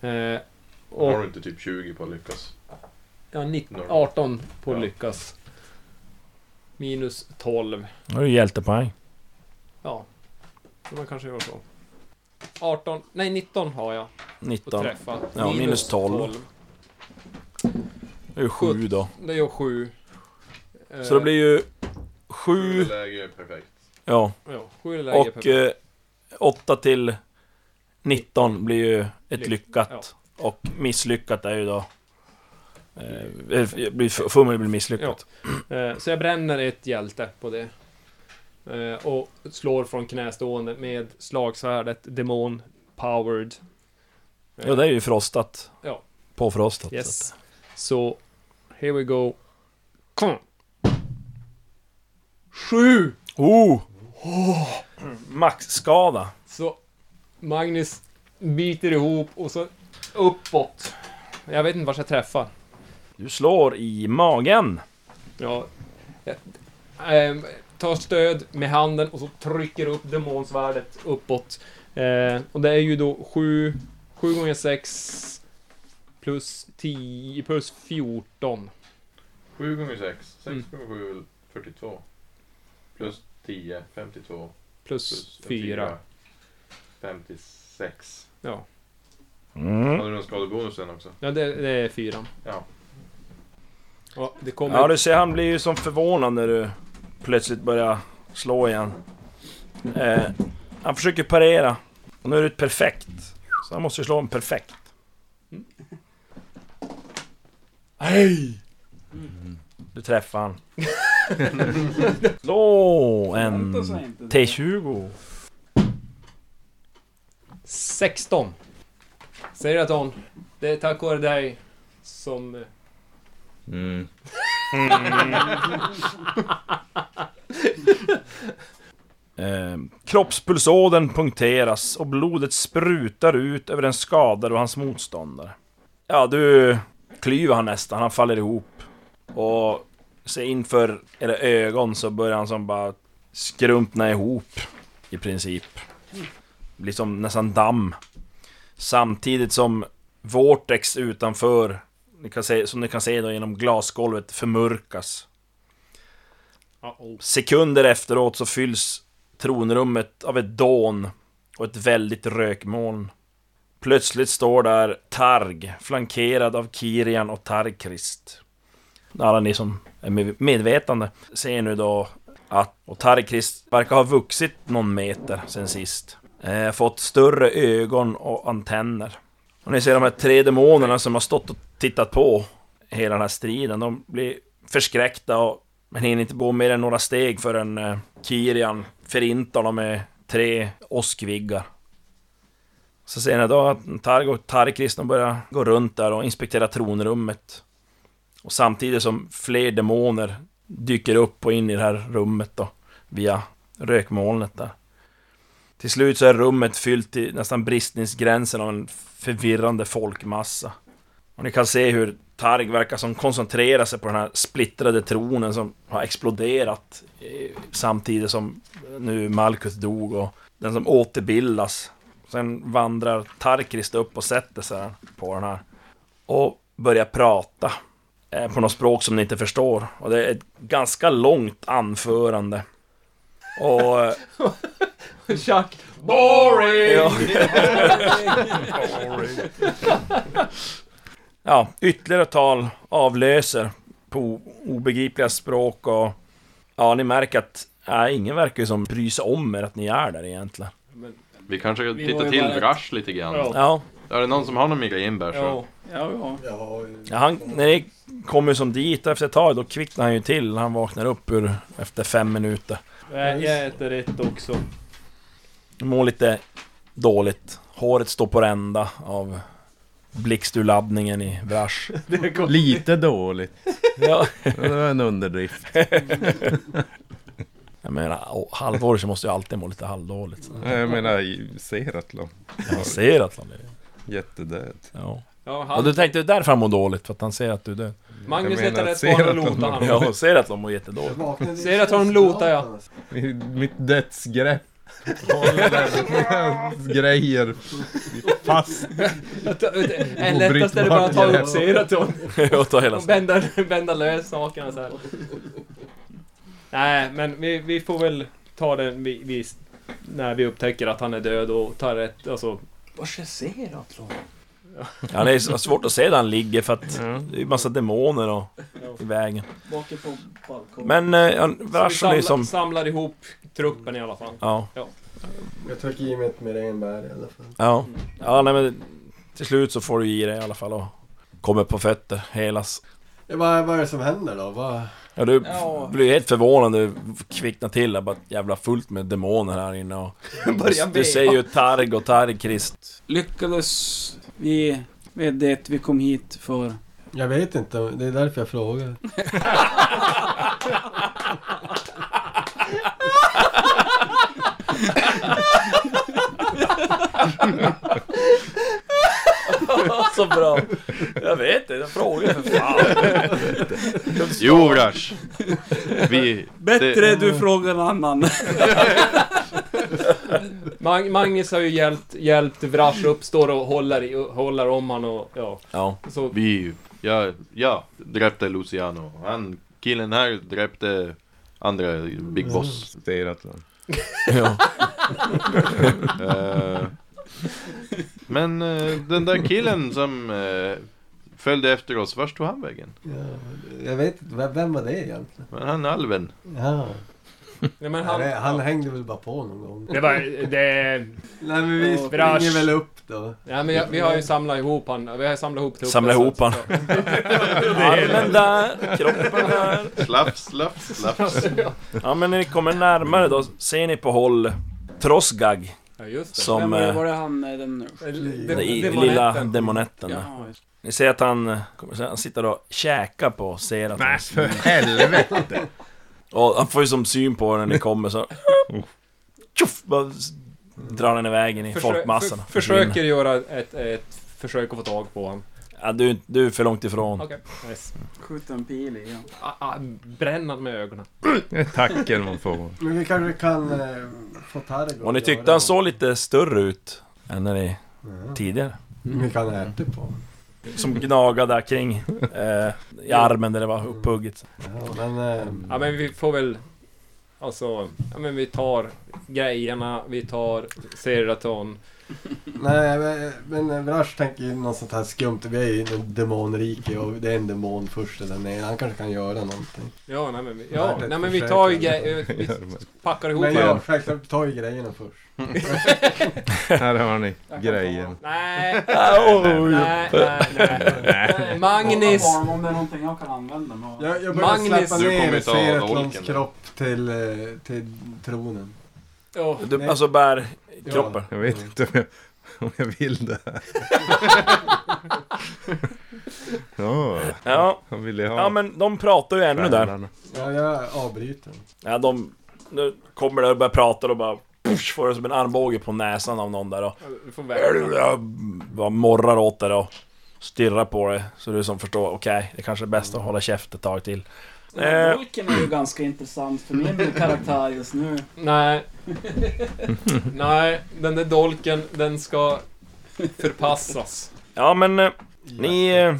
Eh, och
Har du inte typ 20 på att lyckas?
jag har 19,
Normal.
18 på
Ja.
lyckas. Minus 12.
Nu har du hjältepoäng.
Ja, så man kanske gör så. 18, nej 19 har jag på
19.
träffa.
Ja, minus 12. Det är ju sju då.
Det gör 7. Eh,
Så det blir ju sju...
Läge är perfekt.
Ja.
Eh, Ja, 7 läge
Och
per...
eh, åtta till 19 blir ju ett
Lyck-
lyckat. Och misslyckat är ju då... Eh, eh, blir f- fummel blir misslyckat.
Eh, Så jag bränner ett hjälte på det. Eh, Och slår från knästående med slagsvärdet Demon Powered. Eh,
Ja, det är ju frostat.
Ja.
Påfrostat. så att-
Yes. Så, here we go. Kom! Sju!
Oh! Maxskada.
Så Magnus biter ihop och så uppåt. Jag vet inte vart jag träffar.
Du slår i magen.
Ja. Jag, ehm, tar stöd med handen och så trycker upp demonsvärdet uppåt. Eh, och det är ju då 7, 7 gånger 6 plus 10 plus 14.
7 gånger 6, 6
Mm.
gånger 7 42. Plus 10, 52.
Plus
Plus
4.
56.
Ja,
Mm.
Hade du någon skadebonus sen också?
ja det, det är 4.
Ja.
Ja, det kommer...
Ja, du ser han blir ju som förvånad när du plötsligt börjar slå igen. Eh, han försöker parera. Och nu är det ett perfekt. Så han måste ju slå en perfekt. Hej! Du träffar han. slå en
Vänta sig inte.
T20.
16. Seraton, det är tack vare dig som... eh,
Mm.
Eh, kroppspulsådern punkteras och blodet sprutar ut över den skadade och hans motståndare. Ja, du klyver han nästan, han faller ihop. Och se inför era ögon så börjar han som bara skrumpna ihop i princip. blir som nästan damm. Samtidigt som Vortex utanför, ni kan se, som ni kan se då genom glasgolvet, förmörkas. Sekunder efteråt så fylls tronrummet av ett dån och ett väldigt rökmoln. Plötsligt står där Targ, flankerad av Kirian och Tarkrist. Alla ni som är med- medvetande ser nu då att och Tarkrist verkar ha vuxit någon meter sen sist. Eh, fått större ögon och antenner. Och ni ser de här tre demonerna som har stått och tittat på hela den här striden. De blir förskräckta och men hinner inte gå mer än några steg förrän eh, Kirian förintar dem med tre åskviggar. Så ser ni då att Targ och Tarkrist de börjar gå runt där och inspektera tronrummet. Och samtidigt som fler demoner dyker upp och in i det här rummet då, via rökmolnet där. Till slut så är rummet fyllt till nästan bristningsgränsen av en förvirrande folkmassa. Och ni kan se hur Targ verkar som koncentrerar sig på den här splittrade tronen som har exploderat eh, samtidigt som nu Malkuth dog och den som återbildas. Sen vandrar Tarkrist upp och sätter sig här på den här och börjar prata eh, på något språk som ni inte förstår. Och det är ett ganska långt anförande. Och... eh,
Chuck. Boring!
Ja. ja, ytterligare tal avlöser på obegripliga språk och... Ja, ni märker att ja, ingen verkar ju som bryr sig om er att ni är där egentligen.
Vi kanske kan
Vi
titta
var ju
till
bara ett-
Vrash lite grann.
Ja.
Ja,
Är det någon som har någon migränbär så...
Ja, ja.
Ja,
ja, han, när ni kommer som dit efter ett tag, då kvicknar han ju till. Han vaknar upp ur, efter fem minuter.
Nej, jag äter ett också.
Mår lite dåligt. Håret står på rända av blixturladdningen i Vrash.
Lite dåligt.
Ja.
Ja, Det var en underdrift.
Jag menar, å- halvår så måste jag alltid må lite halvdåligt. Så.
Ja, Jag menar, Seratlon.
Han ser att han är
Jättedöd.
ja.
Ja,
Och
han,
du tänkte det är därför han mår dåligt, för att han ser att du är död?
Magnus
Jag menar,
hittar rätt
ser
svar och
att de-
lotar
Ja,
han.
han ser att de mår jättedåligt.
vaknade i
Ser att de lotar, ja.
källaren.
Mi- Mitt dödsgrepp. Håller grejer fast.
En lättaste är det bara att ta upp Seraton
Jag tar hela
och bända, bända lös sakerna så här. Nej, men vi, vi får väl ta den vi, vi, när vi upptäcker att han är död och tar rätt, alltså... Vars är Seraton?
Ja, det är så svårt att se där han ligger för att
Ja.
det är massa demoner och, i vägen.
Bak på balkongen.
Men eh,
Så vi
Vrash är
samlar,
liksom...
samlar ihop truppen i alla fall.
Ja,
Jag tog i mig ett merenbär i alla fall.
ja. Ja, nej men till slut så får du i dig i alla fall och kommer på fötter, helas.
Ja, vad, vad är det som händer då? Vad...
Ja, du
Ja.
blir helt förvånad, du kvicknar till där, bara jävla fullt med demoner här inne och...
Börjar
Du
be.
ser ju Targ och Targkrist
Lyckades vi med det vi kom hit för.
Jag vet inte, det är därför jag frågar.
Så bra! Jag vet det, jag frågar för fan!
Jo Vrash! Vi...
Bättre
Det-
du frågar en annan.
Mag Magnus har ju hjälpt, hjälpt Vrash upp, står och håller, i, håller om han och ja.
Ja,
Så,
Vi... Ja, ja. Dräpte Luciano. Han... Killen här dräpte andra Big Boss.
Seratlon.
ja.
Eh, men eh, den där killen som eh, följde efter oss, vart tog han vägen?
Ja, jag vet inte, vem, vem var det egentligen?
Men han alven.
Ja.
nej, men
Han,
han,
han hängde väl bara på någon gång.
Det var, det...
Nej men vi
Ja,
springer
brasch.
väl upp då.
Ja, men jag, vi har ju samlat ihop han, vi har samlat ihop truppen.
Samla
så
ihop
att-
Armen där, kroppen där.
Slaps, slaps, slaps.
Ja men när ni kommer närmare då ser ni på håll Trosgag
Ja, just det.
som
Vem var det?
eh,
Var det han eh, den...
Det- det-
den i-
det var
lilla
nätten.
demonetten. där.
Ja, just-
Ni ser att han, eh, kommer så här, han sitter och käkar på
Nej
Seratlons
för helvete!
Och han får ju som syn på er när ni kommer så... Tjoff! Bara s- drar den iväg in i
Försö-
folkmassorna.
för-
försvinner.
Försöker göra ett, ett försök att få tag på honom.
Ja, du, är inte- du är för långt ifrån.
Okej. Nice.
Skjuta en pil i ja.
Ah, ah, bränn han med ögonen.
Tacken man får.
Men vi kanske kan eh, få Targo
Och ni
att
tyckte
göra
han såg lite större ut än när ni
Ja.
tidigare.
Vi kan äta på honom.
Som gnagade där kring eh, i armen där det var upphugget.
ja, men, eh,
Ja men vi får väl... Alltså, ja men vi tar grejerna, vi tar Seraton.
Nej, men, men Vrash tänker ju något sånt här skumt. Vi är ju i en demonrike och det är en demon först där nere. Han kanske kan göra någonting.
Ja, nej men vi,
Nej,
ja,
det är
nej, men vi
försök.
tar ju grejer, vi packar ihop
Men
det.
jag självklart tar ju grejerna först.
Här har ni grejen.
Nej,
Ah, oj.
nej, nej, nej. Magnus!
Om, om det är någonting jag kan använda mig av.
Jag, jag börjar
Magnus!
släppa
Du kommer
ner
inte ha
Seratlons
dolken där.
kropp till, eh, till tronen.
Ja,
Du,
Nej.
alltså bär
Ja.
kroppen.
Jag vet inte om jag, om jag vill det här. Ja,
Ja.
han ville ha
ja, men de pratar ju ännu där.
stjärnorna.
Ja, jag avbryter.
Ja, de... Nu kommer det och börjar prata och bara... Push, får det som en armbåge på näsan av någon där och...
du får välja.
Bara morrar åt det och stirrar på det. Så du som förstår, okej, det kanske är bäst att hålla käft ett tag till.
Den här
Eh.
Dolken är ju ganska intressant för min karaktär just nu.
Nej. Nej, den där dolken, den ska förpassas.
Ja, men... eh, Ni... eh,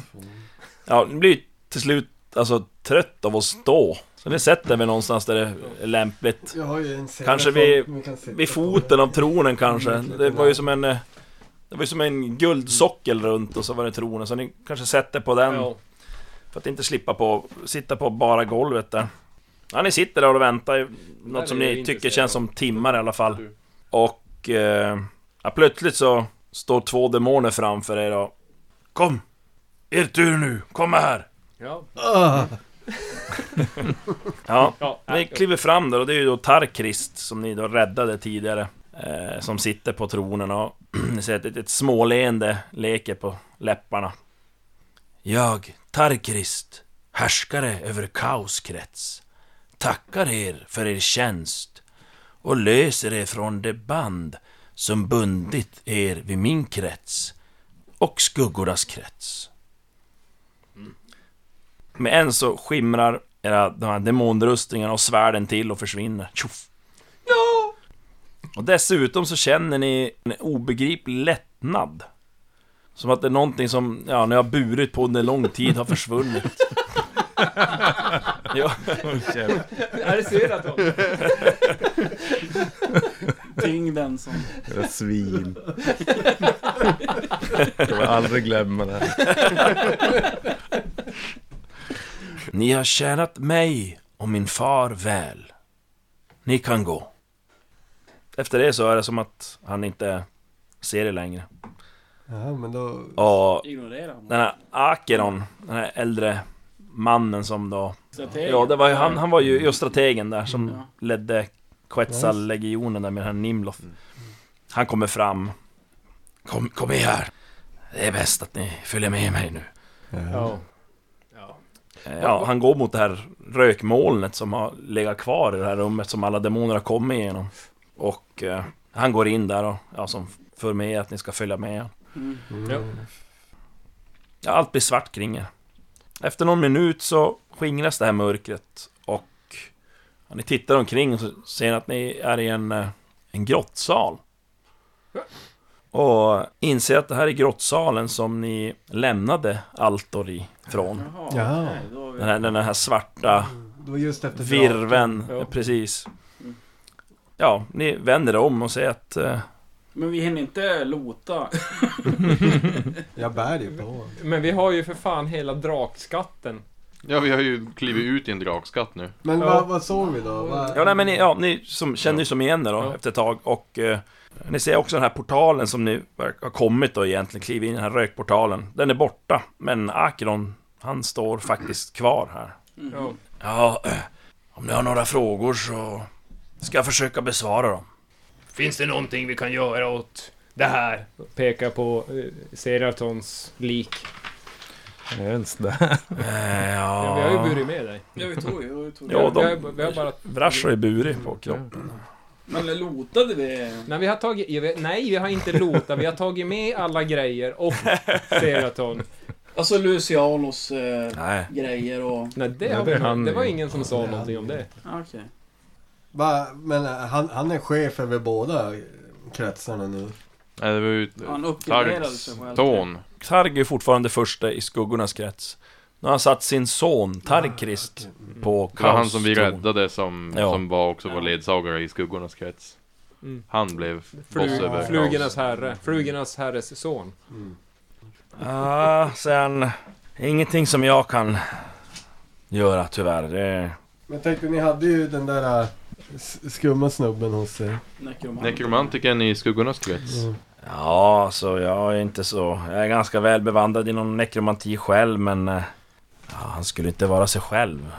Ja, ni blir ju till slut alltså trött av att stå. Så ni sätter väl någonstans där det är lämpligt.
Jag har ju en Seratlon
Kanske vid-
vi kan sitta
Vid
på.
foten av tronen kanske. Det var ju som en... eh, Det var ju som en guldsockel runt och så var det tronen. Så ni kanske sätter på den.
Ja.
För att inte slippa på, sitta på bara golvet där. Ja, ni sitter där och väntar i
Där är
något som
jag
ni
intresserad
tycker känns som timmar i alla fall.
Du.
Och... Eh, ja, plötsligt så står två demoner framför er och... Kom! Er tur nu! Kom här!
Ja.
Ah,
Ja,
Ja,
ni kliver fram där och det är ju då Tarkrist som ni då räddade tidigare. Eh, som sitter på tronen och ni ser att ett, ett småleende leker på läpparna. Jag, Tarkrist, härskare över kaoskrets, tackar er för er tjänst och löser er från det band som bundit er vid min krets och skuggornas krets. Med en så skimrar era, de här demonrustningarna och svärden till och försvinner. Tjoff! Och dessutom så känner ni en obegriplig lättnad. Som att det är någonting som, ja, ni har burit på under lång tid har försvunnit. ja,
Är det Seraton?
Tyngden som...
Era svin. Jag kommer aldrig glömma det här.
ni har tjänat mig och min far väl. Ni kan gå. Efter det så är det som att han inte ser det längre.
ja, men då...
Och
Ignorera honom.
den här Akeron, den här äldre mannen som då...
Strategen.
Ja, det var ju, han, han var ju just strategen där som
Ja.
ledde Quetzal-legionen där med den här Nimloth. Han kommer fram. Kom, kom med här. Det är bäst att ni följer med mig nu.
Ja. Ja.
Eh, Ja, han går mot det här rökmolnet som har legat kvar i det här rummet som alla demoner har kommit igenom. Och eh, han går in där och ja, som för mig att ni ska följa med.
Mm.
Ja, allt blir svart kring er. Efter någon minut så skingras det här mörkret och ja, ni tittar omkring och så ser ni att ni är i en, eh, en grottsal. Och inser att det här är grottsalen som ni lämnade Altor ifrån.
Jaha,
Ja.
okej, då har vi-
Den här, den här svarta
Då just efter
virven,
Ja. Mm.
precis. Ja, ni vänder om och ser att... eh,
Men vi hinner inte lota.
Jag bär ju på honom.
Men vi har ju för fan hela drakskatten.
Ja, vi har ju klivit ut i en drakskatt nu.
Men
Ja.
vad, vad såg vi då? Vad-
Ja, nej, men ni, ja, ni som, känner ju som igen er då
Ja.
efter ett tag och eh, ni ser också den här portalen som ni verk- har kommit då egentligen, kliver in i den här rökportalen. Den är borta, men Akron, han står faktiskt kvar här.
Ja.
Ja, eh, om ni har några frågor så ska jag försöka besvara dem.
Finns det någonting vi kan göra åt det här? Pekar på eh, Seratons lik.
Är det ens där?
Eh,
Ja, vi har ju
ja,
burit med dig.
Ja, vi tog ju. Vi tog ju.
Ja,
vi,
de-
har, vi har bara...
Vrash har ju burit på kroppen.
Men lotade vi?
Nej, vi har tagit... jag vet- Nej, vi har inte lotat. Vi har tagit med alla grejer och Seraton.
Alltså Lucianos eh,
Nej.
grejer och...
Nej, det,
Ja, det
har vi
är
nog-
han
det var
ju.
ingen som sa någonting om det.
Ah, Okej.
Va, men eh, han, han är chef över båda eh, kretsarna nu.
Nej, det var ju
Han uppgraderade sig
Targs
själv.
typ. ton.
Targ är fortfarande första i skuggornas krets. Nu har han satt sin son Tarkrist på
Det var han som vi
kaostron.
räddade som,
Ja.
som var, också var
Ja.
ledsagare i skuggornas krets.
Mm.
Han blev boss
Flu,
över
flugornas herre. Flugornas herres son.
Ja, sen... Ingenting som jag kan göra tyvärr. Det...
Men jag tänkte, ni hade ju den där eh, s- skumma snubben hos er.
kaos.
Necromantic.
Nekromantiken i skuggornas krets.
Mm.
Ja, så jag är inte så... Jag är ganska väl bevandrad inom nekromanti själv, men... eh, Ja, han skulle inte vara sig själv.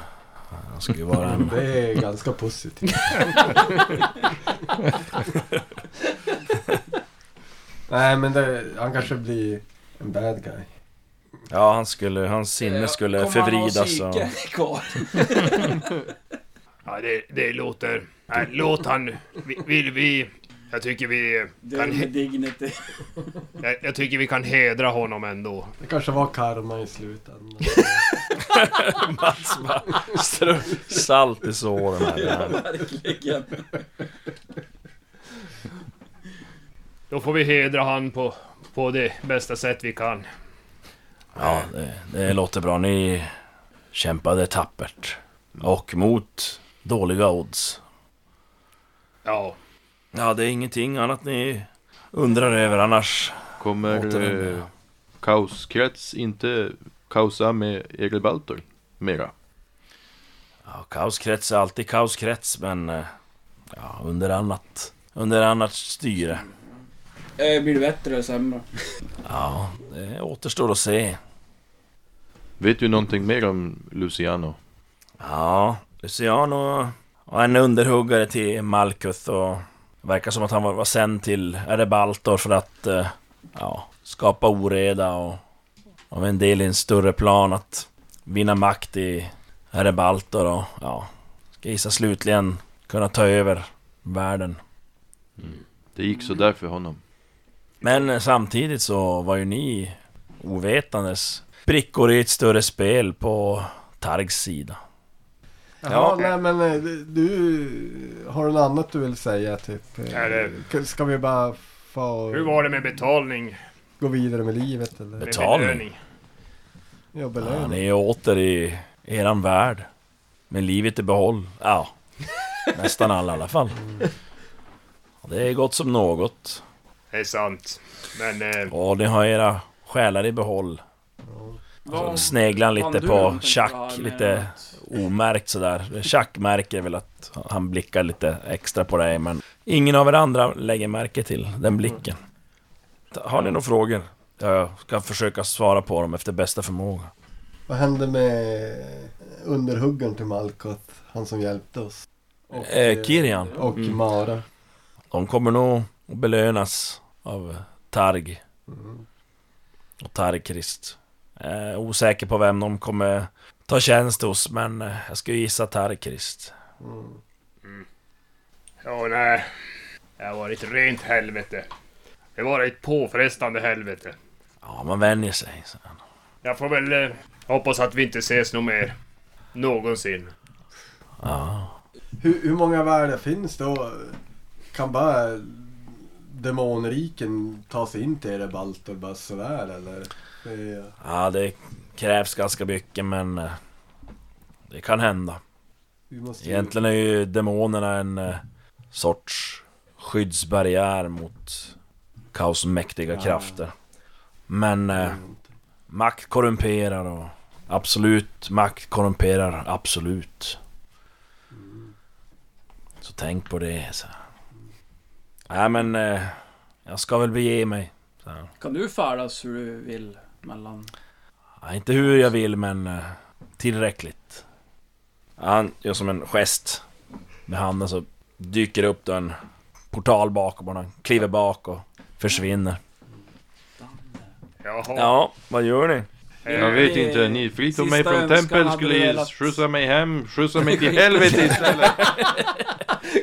Han skulle vara en...
Det är ganska positivt. Nej men det, han kanske blir en bad guy.
Ja, han skulle... Hans sinne
Kommer
skulle
han ha
förvridas
psyke
och...
kvar?
Ja, det, det låter... Nej, låt han nu. Vi- Vill vi... Jag tycker vi...
Det
Kan
är
he-
med dignity.
Jag, jag tycker vi kan hedra honom ändå.
Det kanske var karma i slutändan.
Mats bara strö salt i såren här.
Verkligen.
Då får vi hedra han på, på det bästa sätt vi kan.
Ja, det, det låter bra. Ni kämpade tappert. Och mot dåliga odds.
Ja.
Ja, det är ingenting annat ni undrar över annars.
Kommer
Återvänder.
eh, kaoskrets inte kaosa med Egelbaltor mera?
Ja, kaoskrets är alltid kaoskrets, men... eh, Ja, under annat. Under annat styre.
Eh, Blir det bättre eller sämre?
Ja, det återstår att se.
Vet du någonting mer om Luciano?
Ja, Luciano var en underhuggare till Malkuth och verkar som att han var, var sänd till Erebaltor för att eh, ja, skapa oreda och, och vara en del i en större plan att vinna makt i Erebaltor och ja, ska gissa slutligen kunna ta över världen.
Det gick
Mm.
så där för honom.
Men eh, samtidigt så var ju ni ovetandes brickor i ett större spel på Targs sida.
Jaha,
Ja.
nej men eh, du- du, har du något annat du vill säga typ? Eh,
Ja, det-
ska- Ska vi bara få
Hur var det med betalning?
gå vidare med livet eller?
Med
Betalning?
belöning?
Ja,
Ja,
belöning.
ni är åter i eran värld. Med livet i behåll. Ja, nästan alla i alla fall. Det är gott som något.
Det är sant. Men eh,
Och ni har era själar i behåll.
Vad-
Sneglar
vad
lite
du
på
tänker ha
Chuck,
med
lite
att-
omärkt sådär. Chuck märker väl att han blickar lite extra på dig, men ingen av er andra lägger märke till den blicken. Har ni några frågor? Jag ska försöka svara på dem efter bästa förmåga.
Vad hände med underhuggaren till Malkoth? Han som hjälpte oss. Och,
Eh, Kirian?
Och Mara.
De kommer nog att belönas av Targ och Targkrist. Jag är osäker på vem de kommer ta tjänst hos, men eh, jag skulle gissa Targkrist.
ja, nej. Det har varit rent helvete. Det var ett påfrestande helvete.
Ja, man vänjer sig. så.
Jag får väl eh, hoppas att vi inte ses nog mer. Någonsin.
Ja.
Hur, hur många världar finns då? Kan bara demonriken ta sig in till er balter bara sådär eller? Det är-
ja, det krävs ganska mycket, men eh, det kan hända.
Vi måste ju-
Egentligen är ju demonerna en eh, sorts skyddsbarriär mot kaosmäktiga krafter. Men eh,
Mm.
makt korrumperar och absolut, makt korrumperar absolut. Så tänk på det. Så. Nej men, eh, jag ska väl bege mig. Så. här.
Kan du färdas hur du vill mellan...
Ja, inte hur jag vill, men eh, tillräckligt. Ja, Han gör som en gest med handen så dyker upp då en portal bakom honom, kliver bak och försvinner.
Jaha.
Ja, vad gör ni?
Jag vet inte, ni fritog mig
Eh, Sista
från
önskan
tempel,
hade
skulle
du velat-
skjutsa mig hem, skjutsa mig till helvete istället!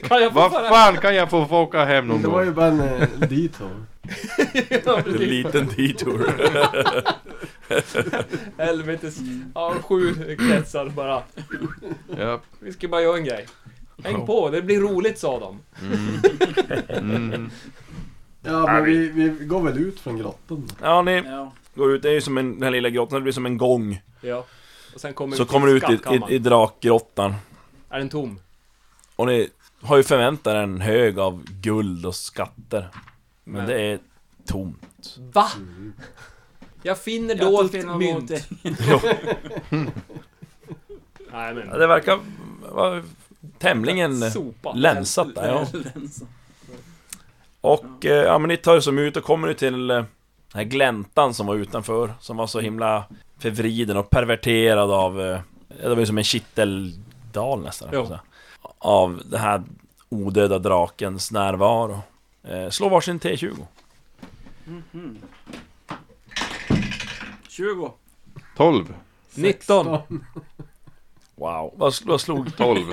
Kan jag få
Vad
föra...
fan kan jag få få åka hem någon
Det var ju
gång?
bara en eh, detour.
Ja,
En
precis.
liten detour.
Helvetes. Ja, sju kretsar bara.
Ja.
Vi ska bara göra en grej. Häng på, det blir roligt sa de.
Ja, men vi, vi går väl ut från grottan.
Ja, ni
Ja.
går ut. Det är ju som en, den här lilla grottan, det blir som en gång.
Ja. Och sen kommer
Så
vi
kommer du ut i,
skattkammaren.
i, i drakgrottan.
Är den tom?
Och ni har ju förväntat er en hög av guld och skatter. Men
Nej.
det är tomt.
Va? Jag finner
Jag
dolt
tyckte det var
mynt.
något-
Nej
Ja,
men.
det verkar vara tämligen
eh,
Sopa.
länsat där. Ja.
Länsat.
Och eh, ja, men ni tar er som ut och kommer ni till eh, den här gläntan som var utanför. Som var så himla förvriden och perverterad av... eh, Det var ju som en kitteldal nästan.
Jo.
så här. Av den här odöda drakens närvaro. Eh, Slå varsin T20.
20.
12.
19.
Wow. Vad, sl- vad slog
12.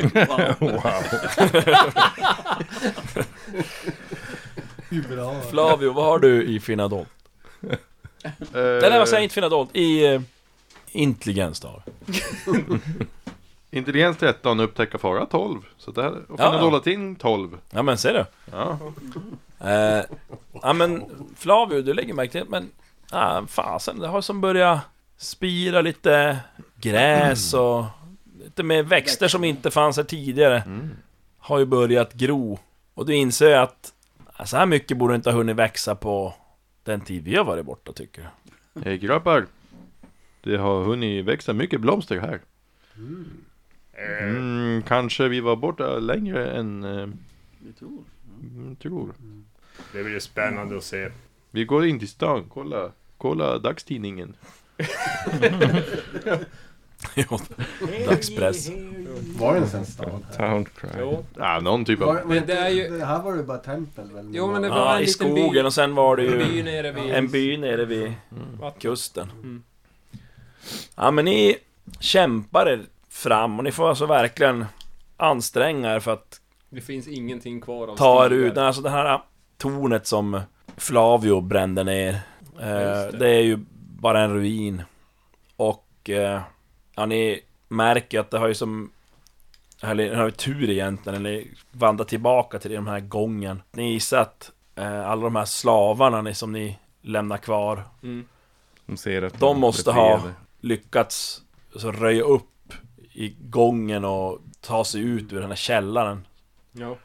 Bra.
Flavio? Vad har du i Finadolt? Nej, nej, vad säger jag? inte Finadolt? I... Eh, intelligens då.
Intelligens 13, upptäcka fara 12. Så där, och
Ja,
finna
ja.
dolatin 12.
Ja men ser du?
Ja.
Eh, ja men Flavio, du lägger märke till men ah, fasen, det har som börjat spira lite gräs och lite mer växter som inte fanns här tidigare har ju börjat gro. Och du inser att ah, så här mycket borde inte ha hunnit växa på den tid vi har varit borta tycker du.
Hej grabbar. Det har hunnit växa mycket blomster här. Mm, kanske vi var borta längre än eh,
Vi tror.
mm, tror.
Det blir ju spännande att se.
Vi går in till stan, kolla. Kolla dagstidningen.
Jo, Dagspress.
Var det en sån stad här?
Jo,
Ah, någon typ av...
Var, var
det
inte,
är ju-
det här var det bara tempel väl? Mm.
Jo, men det var-
Ja,
en
i
liten by.
skogen och sen var det
en by
ju
nere vid...
en by nere vid
Vatten.
kusten.
Mm.
Ja men ni kämpar er fram och ni får alltså verkligen anstränga er för att
Det finns ingenting kvar av
ta er
stigar.
ut, alltså det här tornet som Flavio brände ner. Eh,
just
det.
det.
är ju bara en ruin. Och eh, ja, ni märker att det har ju som... Eller ni har ju tur egentligen, eller ni vandrar tillbaka till den här gången. Ni gissar att eh, alla de här slavarna ni, som ni lämnar kvar
Mm.
De ser att
De
man
måste
blir
ha-
befriade.
lyckats alltså, röja upp i gången och ta sig ut ur den här källaren.
Ja.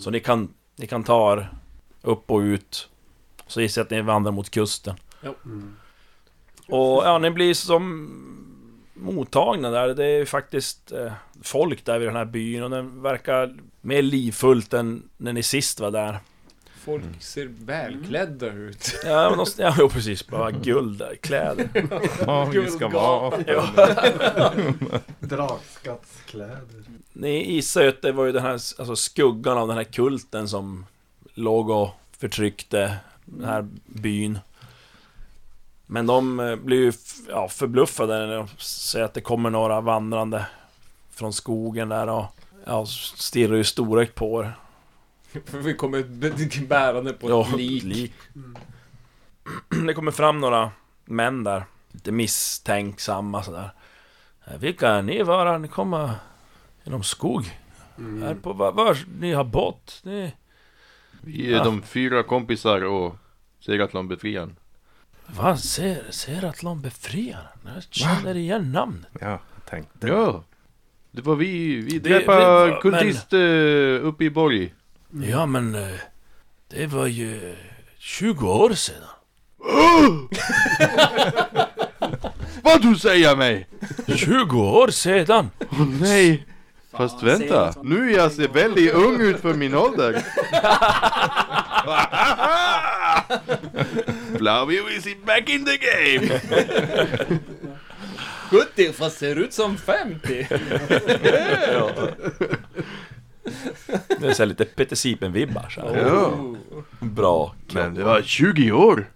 Så ni kan, ni kan ta er upp och ut. Så gissar jag att ni vandrar mot kusten.
Mm.
Och ja, ni blir som mottagna där. Det är ju faktiskt eh, folk där vid den här byn och den verkar mer livfullt än när ni sist var där.
Mm.
Folk ser välklädda
Mm.
ut.
Ja, men de, ja jo, precis. Bara guldkläder.
Ja, vi ska vara...
Dragskattskläder.
Ni gissar ju att det var ju den här alltså skuggan av den här kulten som låg och förtryckte den här byn. Men de eh, blir ju f- ja, förbluffade när de ser att det kommer några vandrande från skogen där och ja, stirrar ju storögt på er.
För vi kommer b- bärande på ett
Ja,
lik.
Mm. Det kommer fram några män där, lite misstänksamma sådär. Eh, Vilka ni vara? Ni kommer genom skog?
Mm.
Här på, var, var ni har båt? Ni...
Vi är de fyra kompisar och Seratlon befriaren.
Va? Ser, Seratlon befriaren? Jag känner igen namnet.
Ja, jag tänkte.
Ja! Det var vi, vi
Det-
träffade
det var-
kultist eh, uppe i borg. Mm.
Ja, men eh, det var ju eh, 20 år sedan.
Vad du säger mig?
20 år sedan!
Åh nej! Fast
Fan, ser
vänta,
ut som-
nu är jag ser väldigt ung ut för min ålder. Flavio is it back in the game!
70 fast ser ut som 50!
Det är så här lite Peter Sipen-vibbar så här.
Ja,
Bra.
men det var 20 år.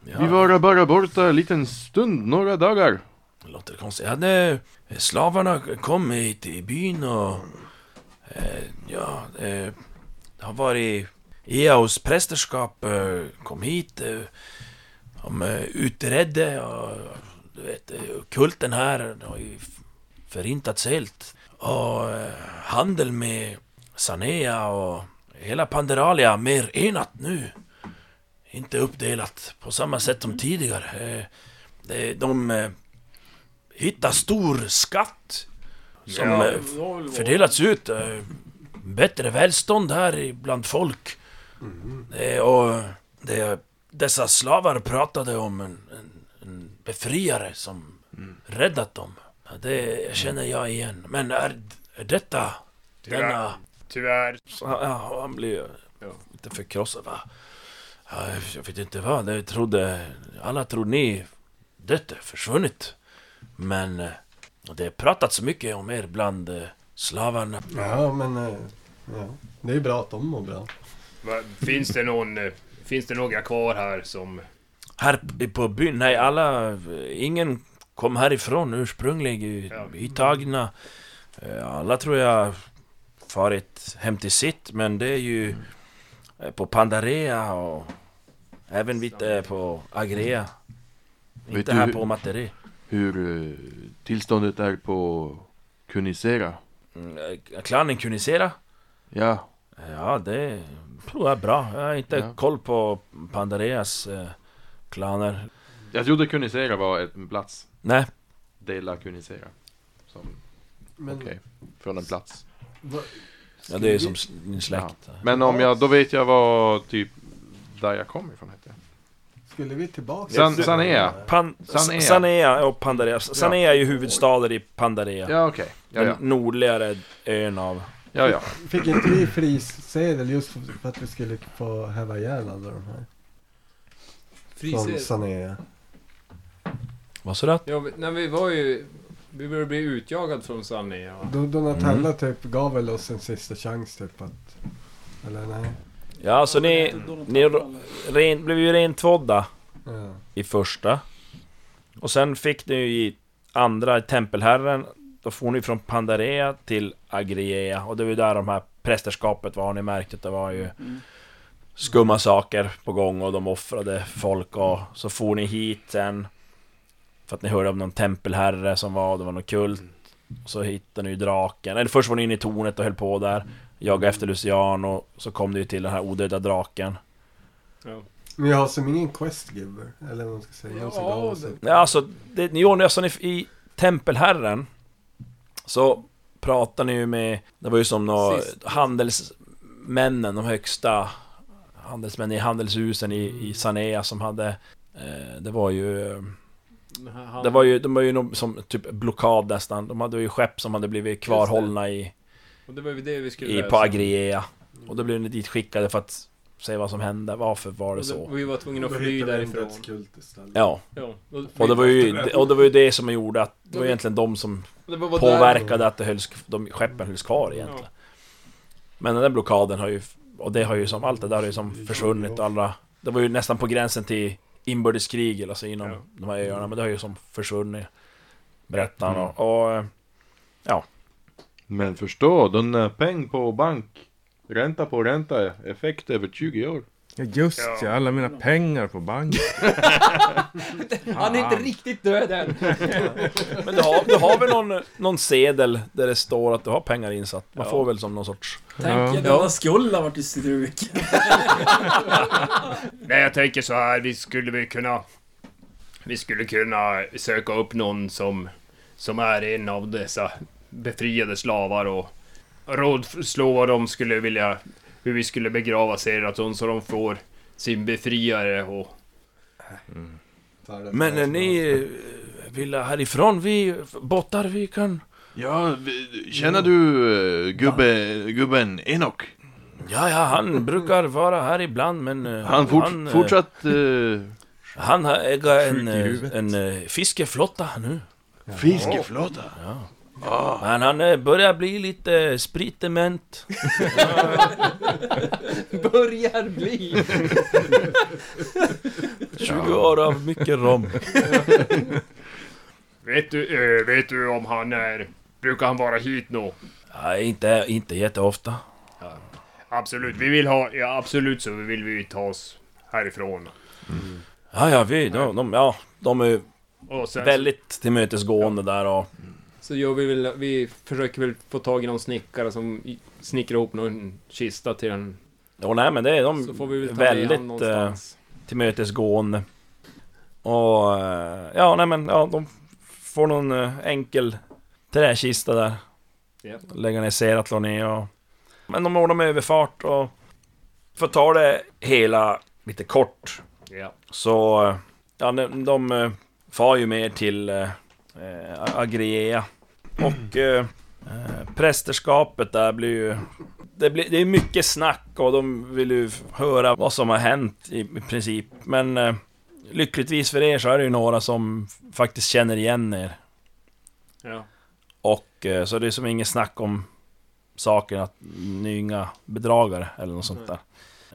Vi
Ja,
var bara borta en liten stund, några dagar.
det låter konstigt. Ja, det, slavarna kom hit i byn och... Eh, ja, eh, det har varit... Eaus prästerskap eh, kom hit. Eh, De eh, utredde och du vet, eh, kulten här har ju f- förintats helt. Och eh, handel med Sanea och hela Panderalia mer enat nu. Inte uppdelat på samma sätt som tidigare. Eh, det- De eh, hittar stor skatt som
Ja.
eh, fördelats ut. eh, Bättre välstånd här i- bland folk. Eh, Och det, dessa slavar pratade om en, en, en befriare som räddat dem. Ja, Det känner jag igen. Men är, är detta...
Tyvärr.
Denna...
Tyvärr.
Så han- Ja, han blev ju lite förkrossad va. Ja, jag vet inte vad, jag trodde... Alla trodde ni dött, försvunnit. Men eh, det pratats mycket om er bland eh, slavarna.
Ja, men... eh, Ja. Det är ju bra att de mår bra.
Va, Finns det någon... eh, Finns det några kvar här som...
Här p- på byn, nej alla... eh, Ingen kom härifrån ursprungligen,
Ja.
uttagna. Eh, Alla tror jag farit hem till sitt, men det är ju eh, på Pandarea och även lite på Agrea.
Mm. Vet
Inte
du
här
hur-
på Materi.
Hur eh, tillståndet är på Kunisera?
Mm, eh, Klanen Kunisera? Eh,
Ja,
Ja, det tror jag är bra. Jag har inte
Ja.
koll på Pandareas eh, klaner.
Jag trodde Kunisera var ett- en plats.
Nej,
Dela Kunisera. Som,
Men,
okej. Från en plats.
va,
ja, det är som s- min släkt.
Men om jag, då vet jag vad typ där jag kommer ifrån hette.
Skulle vi tillbaka?
San- Sanea.
Pan,
Sanea.
Sanea. Sanea och Pandarea. Sanea är ju huvudstader i Pandarea.
Ja okej. Ja, ja.
Den nordligare ön av...
ja, ja.
Fick inte vi frisedel just för för att vi skulle få häva ihjäl alla de här? Från
Friser.
Sanea.
Vad sa du?
Ja, vi- nej, vi var ju... Vi började bli utjagad från Sanne.
Do- Donatella typ gav väl oss en sista chans typ att... Eller nej?
Ja, så alltså, ni, ni ren, blev ju rentvådda
Ja.
i första. Och sen fick ni ju i andra, i tempelherren, då får ni från Pandarea till Agriea. Och det var ju där de här prästerskapet var, har ni märkt att det var ju
Mm.
skumma saker på gång och de offrade folk och så for ni hit sen. För att ni hörde om någon tempelherre som var, det var någon kult. Och så hittade ni ju draken, eller först var ni inne i tornet och höll på där. Jagade efter Lucian och så kom ni ju till den här odöda draken.
Men jag har som ingen quest giver. Eller vad man ska säga. Någon som
Ja,
gav oss
det-
ett-
Nej, alltså, det, ni gjorde, alltså ni, i Tempelherren så pratade ni ju med, det var ju som nå,
Sist.
handelsmännen, de högsta handelsmännen i handelshusen i, i Sanea som hade, eh, det var ju, eh, det var ju, de var ju någon, som typ blockad nästan, de hade ju skepp som hade blivit kvarhållna i,
Och det var ju det Mm. vi skulle
i,
lösa.
på Agriea. Och då blev ni dit skickade för att se vad som hände, varför var
Och
det
det-
så?
Vi var tvungna att
Då
fly
hittade vi en
därifrån.
dödskult istället.
Ja,
Ja,
och det var ju,
Mm.
och det var ju det som gjorde att, det var egentligen de som
det var- var där-
påverkade att det hölls, de skeppen hölls kvar egentligen. Men den där blockaden har ju, och det har ju som, allt det där har ju som försvunnit och alla, det var ju nästan på gränsen till inbördeskrig eller så inom
Ja.
de här öarna, men det har ju som försvunnit. Berättar
Mm.
han och, eh, och,
Men förstå, den är peng på bank. Ränta på ränta, effekt över 20 år.
Ja, just ja.
Ja.
alla mina pengar på banken.
Han är inte riktigt död än.
men du har, du har väl någon, någon sedel där det står att du har pengar insatt? Man
Ja.
får väl som någon sorts...
Tänk
Ja.
er, denna skuld har varit i struken.
Nej, jag tänker så här. Vi skulle väl kunna... Vi skulle kunna söka upp någon som... Som är en av dessa befriade slavar och rådslå vad de skulle vilja... Hur vi skulle begrava Seraton så de får sin befriare och...
Tar det
Men
för
eh,
oss.
ni eh, vill härifrån, vi bottar, vi kan...
ja vi- känner du eh, gubbe, gubben Enoch?
Ja, ja, han brukar vara här ibland men... eh,
Han, fort,
eh,
fortsatt eh,
Han har- äger en,
Sjuk i
eh,
huvudet.
en eh, fiskeflotta nu.
fiskeflotta.
Men han eh, börjar bli lite spritdement.
Börjar bli.
20 år av mycket rom.
Vet du, eh, vet du om han är... Brukar han vara hit nå?
Ja, inte, inte jätteofta.
Absolut, vi vill ha... Ja, absolut så vill vi ta oss härifrån.
Ja, ja, vi, de, de, ja, de är ju
Och sen,
väldigt tillmötesgående där och...
Så gör vi väl, vi försöker väl få tag i någon snickare som i- snickrar ihop någon kista till den.
Jo, nej men det är de
Så får vi väl ta med han
väldigt eh,
någonstans.
tillmötesgående. Och... eh, Ja, nej men, ja, de får någon eh, enkel träkista där.
Ja.
lägga ner Seratlon i och... Men de ordnar med överfart och... För att ta det hela lite kort
Ja.
så... eh, Ja, de, de eh, far ju mer till eh, eh, Agriea. Och eh, eh, prästerskapet där blir ju... Det, blir, det är mycket snack och de vill ju höra vad som har hänt i, i princip. Men eh, lyckligtvis för er så är det ju några som faktiskt känner igen er.
Ja.
Och eh, så det är som inget snack om saken att ni är inga bedragare eller något sånt där.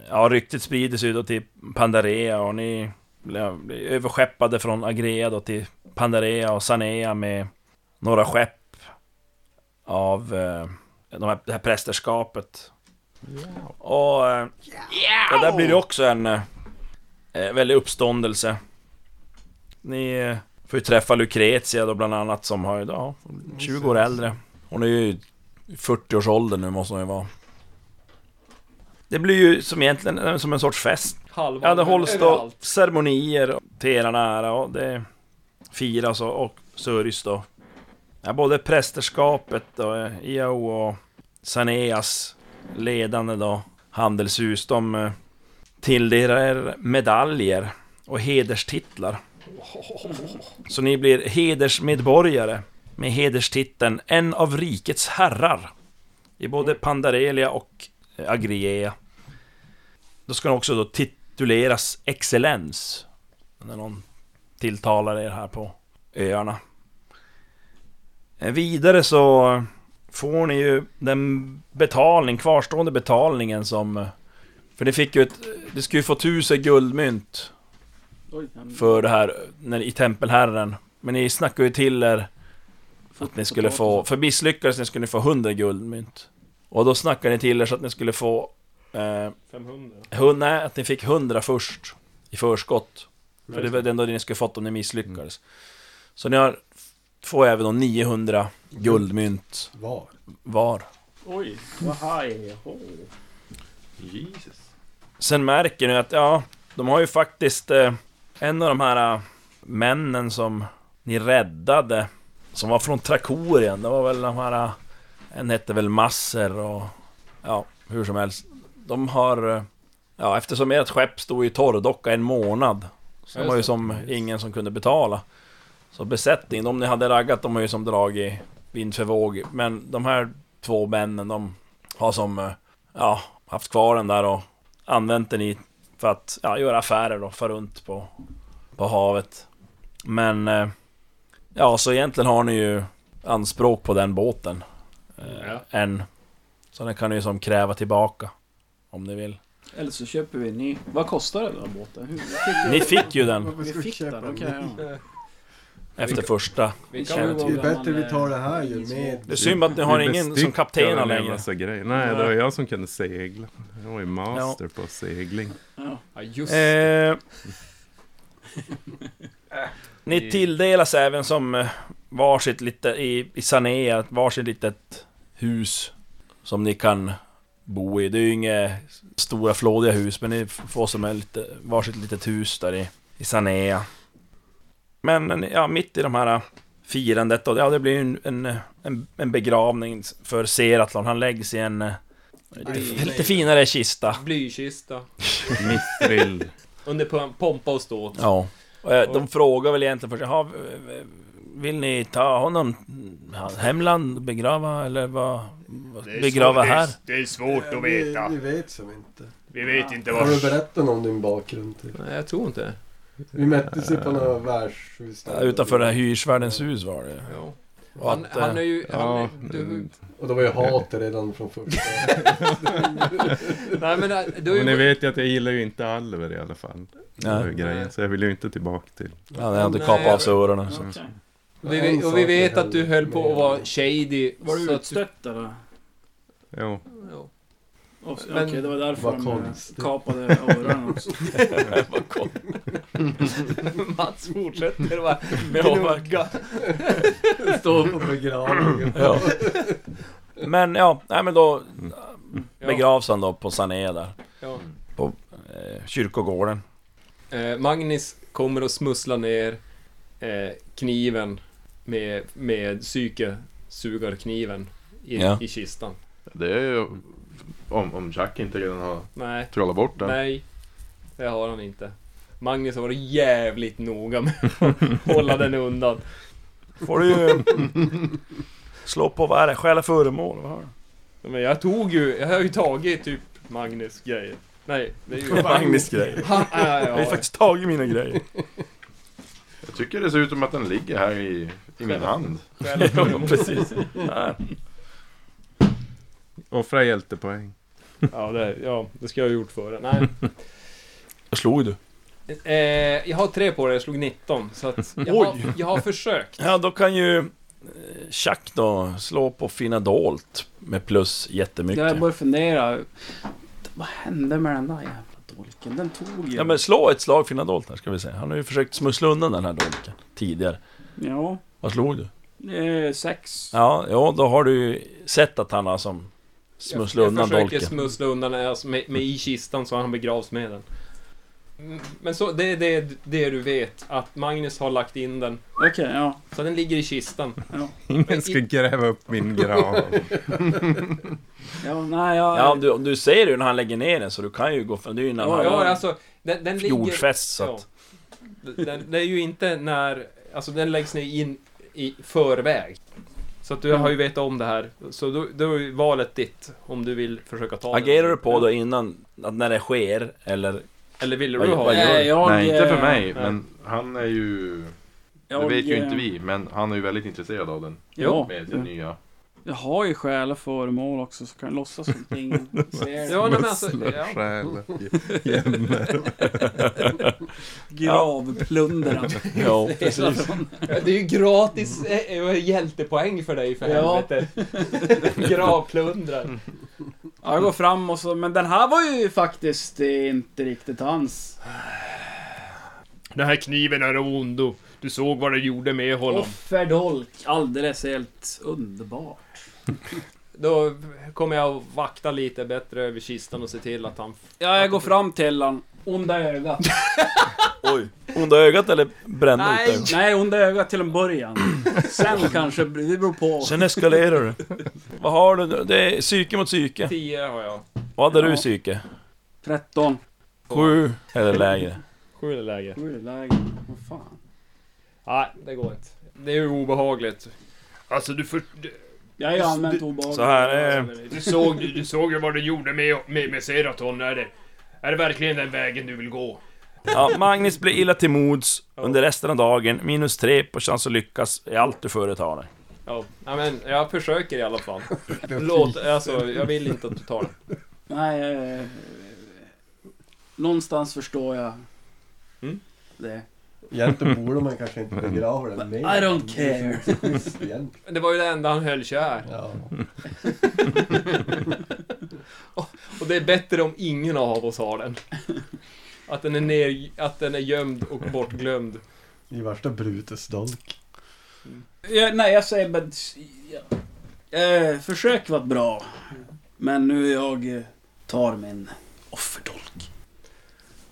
Ja, ryktet sprider sig då till Pandarea och ni blir blir överskeppade från Agrea då till Pandarea och Sanea med några skepp av eh, de här, det här prästerskapet. Och eh, ja, där blir det också en eh, eh, väldig uppståndelse. Ni eh, får ju träffa Lucretia då bland annat som har, ja, 20 år äldre. Hon är ju i 40-årsåldern nu måste hon ju vara. Det blir ju som egentligen eh, som en sorts fest.
Halva
Ja, det hålls då
överallt.
ceremonier till eran ära och det firas och, och sörjs då. Ja, både prästerskapet och eh, IAO och Saneas ledande då handelshus, de eh, tilldelar er medaljer och hederstitlar. Så ni blir hedersmedborgare med hederstiteln En av rikets herrar i både Pandarelia och eh, Agriea. Då ska de också då tituleras excellens. När någon tilltalar er här på öarna. Eh, Vidare så får ni ju den betalning, kvarstående betalningen som... eh, För ni fick ju ett... Ni skulle ju få tusen guldmynt
Oj, han-
för det här när, i Tempelherren. Men ni snackade ju till er att ni skulle få... För misslyckades ni skulle ni få 100 guldmynt. Och då snackade ni till er så att ni skulle få... Eh,
500.
Hund, nej, att ni fick 100 först i förskott. För det var det enda ni skulle fått om ni misslyckades. Så ni har, får även då 900 guldmynt
Var?
var.
Oj, vad haj. Oh.
Jesus.
Sen märker ni att, ja, de har ju faktiskt eh, en av de här eh, männen som ni räddade, som var från Trakorien, det var väl de här, eh, en hette väl Masser och, ja, hur som helst. De har, eh, ja, eftersom ert skepp stod i torrdocka en månad, så
Ja,
de var ju
just
som ingen som kunde betala. Så besättningen, de ni hade raggat, de har ju som dragit vind för våg, men de här två männen, de har som, eh, ja, haft kvar den där och använt den i för att ja, göra affärer då, för runt på, på havet. Men eh, ja, så egentligen har ni ju anspråk på den båten. Eh,
Ja.
Än. Så den kan ni ju som kräva tillbaka. Om ni vill.
Eller så köper vi en ny. Vad kostar den där båten? Hur-
Ni fick ju den
Varför
Vi
ska
fick den, okej. ja.
efter första.
Vi
Det är
Det
kan
är ju bättre vi tar det här ju med...
Det är synd att ni har
Vi
ingen som
bestyckar
kaptenar
en jävla
längre.
massa grejer. Nej, det var jag som kunde segla. Jag var ju master på segling.
Ja.
Ja, just det.
Eh, ni tilldelas även som eh, varsitt lite i, i Sanea, ett varsitt litet hus som ni kan bo i. Det är ju inga stora flådiga hus, men ni får som en lite, varsitt litet hus där i, i Sanea. Men eh, ni- ja, mitt i de här eh, firandet då, ja det blir ju en, en, eh, en, en begravning för Seratlon. Han läggs i en eh, lite, lite finare kista.
Blykista.
Missrill.
Under pom- pompa och ståt.
Ja. Och, eh, De frågar väl egentligen först, jaha, eh, vill ni ta honom hemland, begrava eller vad? vad-
det är
Begrava
svårt- det är-
här?
Det är svårt att
Vi,
veta.
vi vet som inte.
Vi vet inte
Har du
vars...
berättat om din bakgrund? Till?
Nej, jag tror inte.
Vi möttes ju på några värdshus.
Ja, Utanför det här hyresvärdens hus var det.
Ja.
Och
Han,
att,
han är
eh,
ju... Han
Ja.
är, du,
Och det var ju hat redan från första.
nej, men eh, du
Men
är
ni
ju...
vet ju att jag gillar ju inte Alver i alla fall. Det var ju
Nej.
grejen, så jag vill ju inte tillbaka till...
han hade kapat av sig öronen. så.
Okej.
Vi, och vi vet att du höll på att vara shady.
Var du
så att du-
utstött eller?
Jo.
Ja.
Och så- Okej,
Men-
det var därför
Vad
de eh,
konstigt.
kapade öronen också.
Vad kort.
Mats fortsätter och bara
Ja,
gnugga.
Står på begravningen.
ja. Men ja, nej, men då begravs han då på Sané där.
Ja.
På eh, kyrkogården.
Eh, Magnus kommer och smusslar ner eh, kniven med, med psykesugarkniven i,
Ja.
i kistan.
Det är ju... Om, om Jack inte redan har
Nej,
trollat bort den.
nej, det har han inte. Magnus har varit jävligt noga med att hålla den undan.
Får du ju slå på, vad är det, stjäla föremål? Vad har du?
Men jag tog ju, jag har ju tagit typ Magnus grejer. Nej, det är ju...
Magnus grejer.
Han, nej,
Jag har ju
ja,
faktiskt tagit mina grejer.
Jag tycker det ser ut som att den ligger här i, i min hand.
ja, precis. Ja.
Offra hjältepoäng.
ja, det, ja, det ska jag ha gjort före. Nej.
Jag slog du.
Eh, jag har tre på det, jag slog 19. Så att jag, har, jag har försökt.
Ja, då kan ju eh, Chuck då slå på fina dolt med plus jättemycket.
Jag började fundera. Vad hände med den där jävla dolken? Den tog ju...
Ja men slå ett slag fina dolt här ska vi se. Han har ju försökt smussla undan den här dolken tidigare.
Ja,
Vad slog du?
eh, sex.
Ja, ja då har du ju sett att han har som smusslat
jag, jag
undan
försöker
dolken.
smussla undan den, alltså, med, med i kistan så han begravs med den. Mm, Men så, det är det, det du vet, att Magnus har lagt in den.
Okej, ja.
Så den ligger i kistan.
Ja,
Ingen ska gräva upp min grav.
ja nej, jag...
Ja, du, du ser ju när han lägger ner den så du kan ju gå för Det är ju när
Ja,
han
Ja,
har
alltså, den, den ligger...
jordfäst så att...
Ja. Den, det är ju inte när... Alltså den läggs ner in i förväg. Så
Mm.
att du har ju vetat om det här. Så då, då är ju valet ditt, om du vill försöka ta den.
Agerar du på då innan, att när det sker eller...
Eller ville
Vad-
du ha
vad
den?
gör
Nej, jag,
Nej, inte
eh,
för mig. Men han är ju...
jag,
det vet ju
eh,
inte vi, men han är ju väldigt intresserad av den.
Ja,
Med
Mm.
sin nya.
jag har ju själ och föremål också så kan jag låtsas som att ingen ser.
Ja, nej, men alltså, ja.
Själ. Jämmer.
Gravplundran.
Ja,
Precis.
Det är ju gratis eh, hjältepoäng för dig för
Ja.
helvete. Gravplundrar.
Ja, jag går fram och så, men den här var ju faktiskt inte riktigt hans.
Den här kniven är av ondo. Du såg vad du gjorde med honom.
Offerdolk, alldeles helt underbar.
Då kommer jag att vakta lite bättre över kistan och se till att han...
Ja, jag går fram till han. Onda ögat.
Oj. Onda ögat eller bränna ut
Nej,
ögat?
nej, onda ögat till en början. Sen kanske, det beror på.
Sen eskalerar du. Vad har du? nu? Det är psyke mot psyke.
10 har jag.
Vad hade
Ja.
du psyke?
13.
Sju eller lägre.
Sju är läge.
Nu är det läge. Vad fan.
Nej, det går inte. Det är ju obehagligt.
Alltså du, för, du,
Jag har ju använt obehag.
Så här, eh,
du, såg, du såg ju vad du gjorde med, med, med Seraton. Är det, är det verkligen den vägen du vill gå?
Ja, Magnus blir illa till mods under resten av dagen. Minus tre på chans att lyckas i allt du företar dig.
Ja, nej, men jag försöker i alla fall. Låt, alltså, jag vill inte att du tar den.
Nej, eh, någonstans förstår jag
Mm.
det.
Egentligen borde man kanske inte begrava den mer.
I don't care.
Det är så schysst egentligen.
Det var ju det enda han höll kär.
Ja.
Och det är bättre om ingen av oss har den. Att den är, ner, att den är gömd och bortglömd.
I värsta Brutus dolk.
Jag, nej, jag säger bara... ja. Eh, försök vara bra. Men nu jag eh, tar min offerdolk.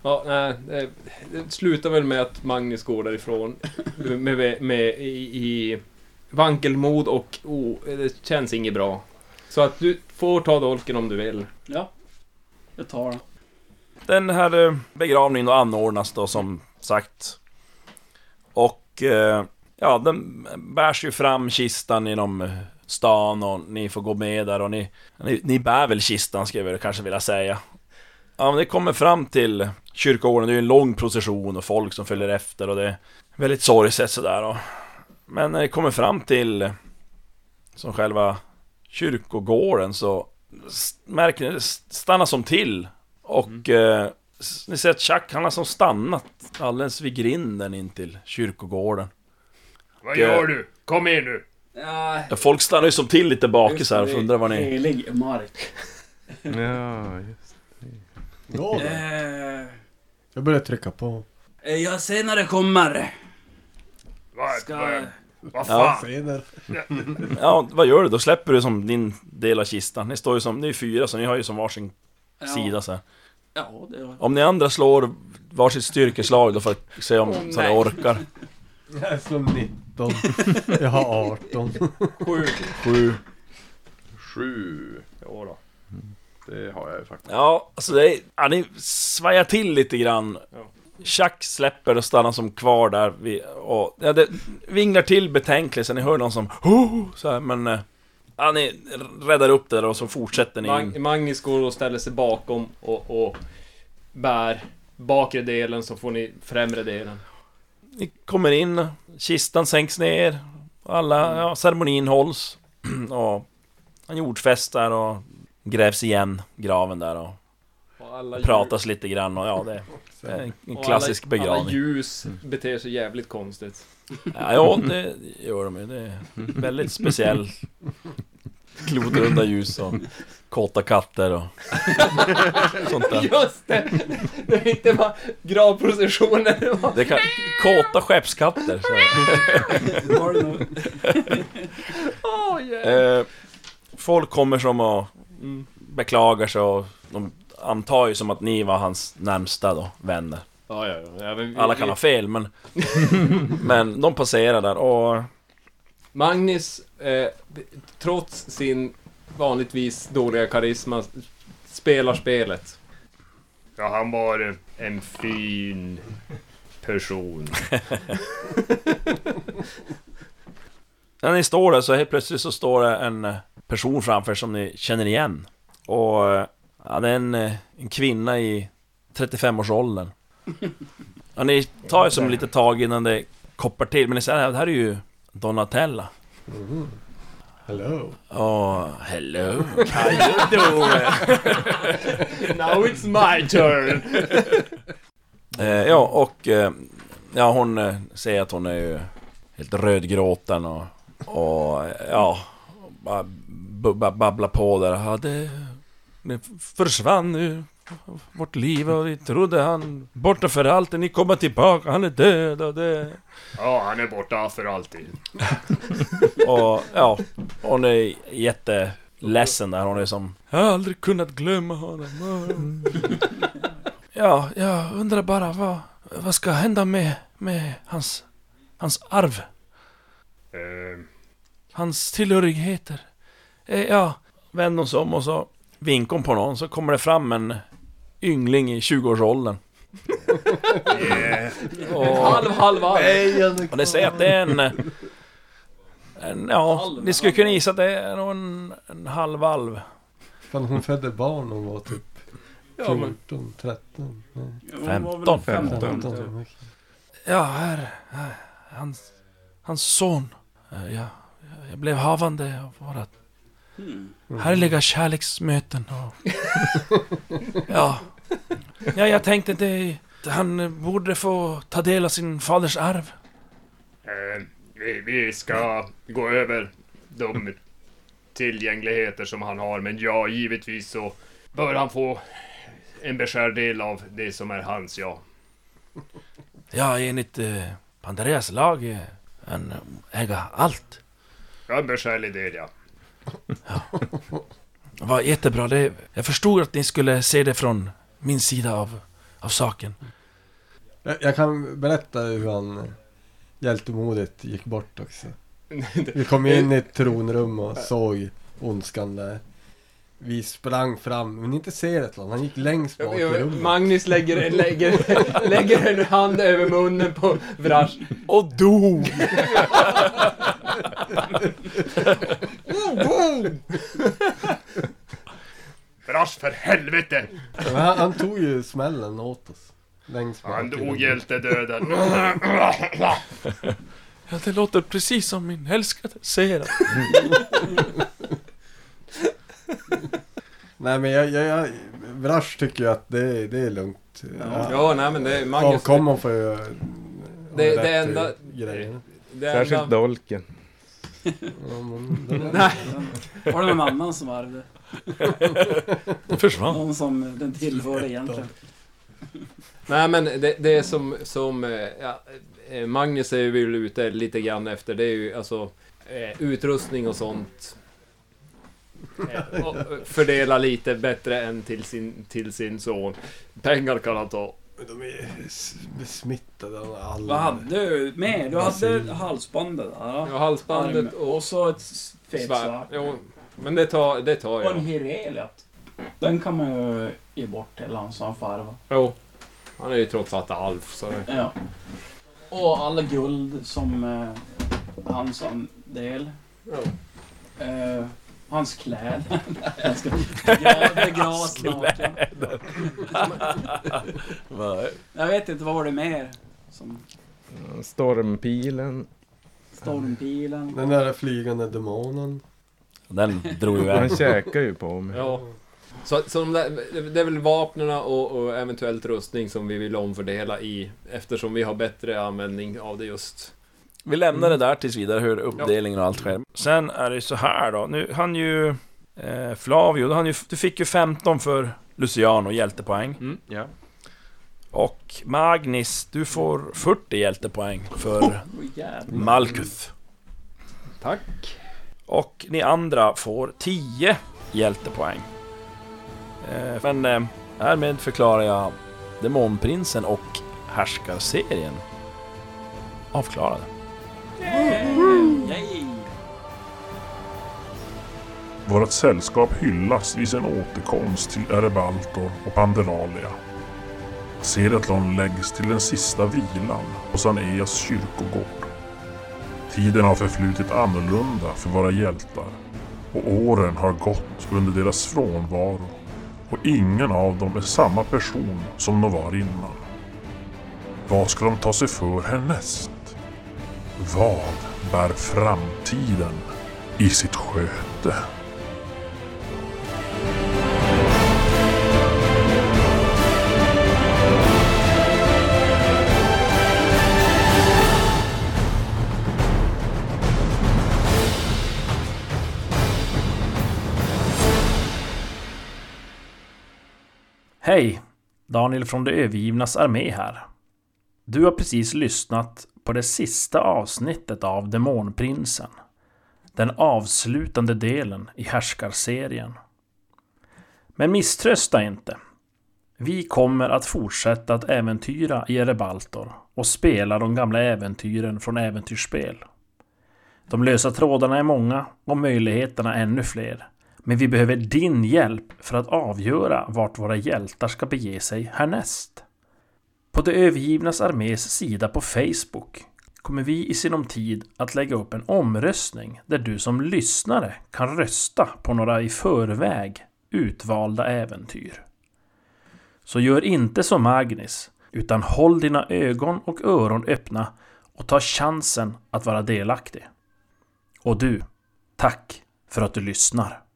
Ja, nej, det, det slutar väl med att Magnus går därifrån med, med, med i, i vankelmod och oh, det känns inget bra. Så att du får ta dolken om du vill.
Ja, jag tar den.
Den här eh, begravningen då anordnas då som sagt. Och eh, ja, den bärs ju fram kistan genom eh, stan och ni får gå med där och ni, ni, ni bär väl kistan skulle jag kanske vilja säga. Ja, men det kommer fram till kyrkogården, det är ju en lång procession och folk som följer efter och det är väldigt sorgset sådär. Och, men när det kommer fram till som själva kyrkogården så s- märker ni, det stannar som till och
Mm.
eh, s- ni ser att Chuck, han har som stannat alldeles vid grinden in till kyrkogården.
Vad
Det-
gör du? Kom in nu!
Ja,
eh, Ja, Folk stannar ju som till lite bakis här och undrar vad ni...
Helig mark.
Ja, just.
Ja, då.
Eh,
jag börjar trycka på.
eh, jag ser när det kommer.
Vad
Ska...
vad
Ja.
fan?
Senare.
Ja, vad gör du då? Släpper du som din del av kistan? Ni står ju som, ni är fyra så ni har ju som varsin
Ja.
sida så här.
Ja, det var...
Om ni andra slår varsitt styrkeslag då för att se om
Åh,
så ni
nej.
orkar.
Jag är som 19. Jag har 18.
Sju.
Sju.
Sju.
Ja, då.
Det har jag ju faktiskt.
Ja, alltså det är, ja, ni svajar till lite grann. Chuck släpper och stannar som kvar där vid, och, ja, det vinglar till betänkligt så ni hör någon som oh! så här, men... eh, Ja, ni räddar upp det där och så fortsätter ni in.
Mag- Magnus går och ställer sig bakom och, och bär bakre delen så får ni främre delen.
Ni kommer in, kistan sänks ner,
Mm.
alla, ja, ceremonin hålls. och han jordfäst där och grävs igen graven där och
Och alla ljus-
pratas lite grann och ja, det är en- en
och
klassisk
alla, Alla
begravning. Mm.
ljus beter sig jävligt konstigt.
Ja, ja, det gör de ju. Det är väldigt speciell. Klodrunda ljus och kåta katter och sånt där.
Just det! Det är inte bara gravprocessioner. det var-
Det kan, kåta skeppskatter. Så.
Var det nog?
Åh, jävlar.
Eh, folk kommer som och
Mm.
beklagar sig och de antar ju som att ni var hans närmsta då, vänner.
Ja, ja, ja. ja men vi,
Alla kan ha fel men... men de passerar där och...
Magnus, eh, trots sin vanligtvis dåliga karisma, spelar spelet.
Ja, han var en fin person.
När ni står där så helt plötsligt så står det en eh, person framför er som ni känner igen. Och... eh, Ja, det är en, eh, en kvinna i 35-årsåldern. Ja, ni tar ju som lite tag innan det koppar till men ni säger "Ja, det här är ju Donatella.
Hello.
Åh, hello, how you doing?
Now it's my turn!
Eh, ja, och eh, ja, hon eh, säger att hon är ju helt rödgråten och, och eh, ja, bara bubba- babbla på där. Ja, det, det försvann ur vårt liv och vi trodde han borta för alltid. Ni kommer tillbaka, han är död och det...
Ja, han är borta för alltid.
Och ja, hon är jätteledsen där. Hon är som... Jag har aldrig kunnat glömma honom. Ja, jag undrar bara vad... Vad ska hända med, med hans... Hans arv?
Eh,
Hans tillhörigheter? Eh, Ja, vänd oss om och så vinkar hon på någon så kommer det fram en yngling i 20-årsåldern. Och-
Halv, halv, halv.
och det säger att det är en... en ja, ni skulle kunna gissa att det är nog en, en halvvalv.
Fan, hon födde barn hon var typ 14, 13. nej,
Hon var väl
15.
15.
15.
Ja, här. här, Hans, hans son. Eh, Jag, jag blev havande av vårat
Hmm.
härliga kärleksmöten. Och, ja. ja, jag tänkte det... Han borde få ta del av sin faders arv.
eh, vi, vi ska gå över de tillgängligheter som han har, men ja, givetvis så bör han få en beskärd del av det som är hans, ja.
Ja, enligt eh, Pandareas lag. eh, Han äger allt.
Ja, en beskärlig del, ja.
Vad jättebra. Det, jag förstod att ni skulle se det från min sida av, av saken.
Jag, jag kan berätta hur han hjältemodigt gick bort också. Vi kom in i ett tronrum och såg ondskan där. Vi sprang fram, men inte ser det han gick längst bak i rummet.
Magnus lägger, lägger, lägger en hand över munnen på Vrash.
Och dog!
Brass för helvete!
Men Han, han tog ju smällen åt oss. Längst bak
Han
i rummet.
dog hjältedöden.
Ja, det låter precis som min älskade säger.
Nej men jag, jag, jag Vrash tycker ju att det, det är lugnt. Ja,
Ja, nej men det är Magnus.
Avkomman får ju... eh,
Det-
rätt
det
i
enda-
Grejerna.
Det är
Särskilt
enda-
dolken.
Ja, men, det-
Nej,
Var det någon annan som varvade?
Den försvann.
Någon som den tillhörde egentligen.
Nej men det, det är som, som eh, ja, eh, Magnus är väl ute lite grann efter, det är ju alltså eh, utrustning och sånt. Eh, och, eh, Fördela lite bättre än till sin, till sin son. Pengar kan han ta.
Men de är s- besmittade av alla.
Vad hade du med? Du hade halsbandet där.
Ja, halsbandet
och...
och
och så ett s- fett
svärd.
svärd.
Jo, men det tar, det tar
Och en
jag.
hirelet. Den kan man ju ge bort till han som farva.
Jo. Han är ju trots allt alf så det...
Ja. Och alla guld som eh, hans andel.
Jo.
Eh, hans kläder. Nej, jag ska... Ja, begravs snart. Ja. Jag vet inte, vad var det mer? Som
Stormpilen.
stormpilen.
Den där flygande demonen.
Den drog iväg.
Han käkar ju på mig.
Ja. Så, så de där, det är väl vapnen och, och eventuellt rustning som vi vill omfördela i eftersom vi har bättre användning av det just.
Vi lämnar det där tills vidare, hur uppdelningen och allt sker. Sen är det ju så här då, nu han ju... Eh, Flavio, han ju, du fick ju 15 för Luciano, hjältepoäng.
Ja.
Och Magnus, du får 40 hjältepoäng för
Åh, jävlar.
Malkuth.
Tack.
Och ni andra får 10 hjältepoäng. Eh, Men eh, härmed förklarar jag Demonprinsen och Härskarserien avklarade.
Yay!
Vårt sällskap hyllas i sin återkomst till Erebaltor och Panderalia. Seratlon läggs till den sista vilan på Saneas kyrkogård. Tiden har förflutit annorlunda för våra hjältar och åren har gått under deras frånvaro och ingen av dem är samma person som de var innan. Vad ska de ta sig för härnäst? Vad bär framtiden i sitt sköte?
Hej! Daniel från De övergivnas armé här. Du har precis lyssnat på det sista avsnittet av Demonprinsen. Den avslutande delen i härskarserien. Men misströsta inte. Vi kommer att fortsätta att äventyra i Erebaltor och spela de gamla äventyren från äventyrsspel. De lösa trådarna är många och möjligheterna ännu fler. Men vi behöver din hjälp för att avgöra vart våra hjältar ska bege sig härnäst. På De övergivnas armés sida på Facebook kommer vi i sinom tid att lägga upp en omröstning där du som lyssnare kan rösta på några i förväg utvalda äventyr. Så gör inte som Magnus, utan håll dina ögon och öron öppna och ta chansen att vara delaktig. Och du, tack för att du lyssnar.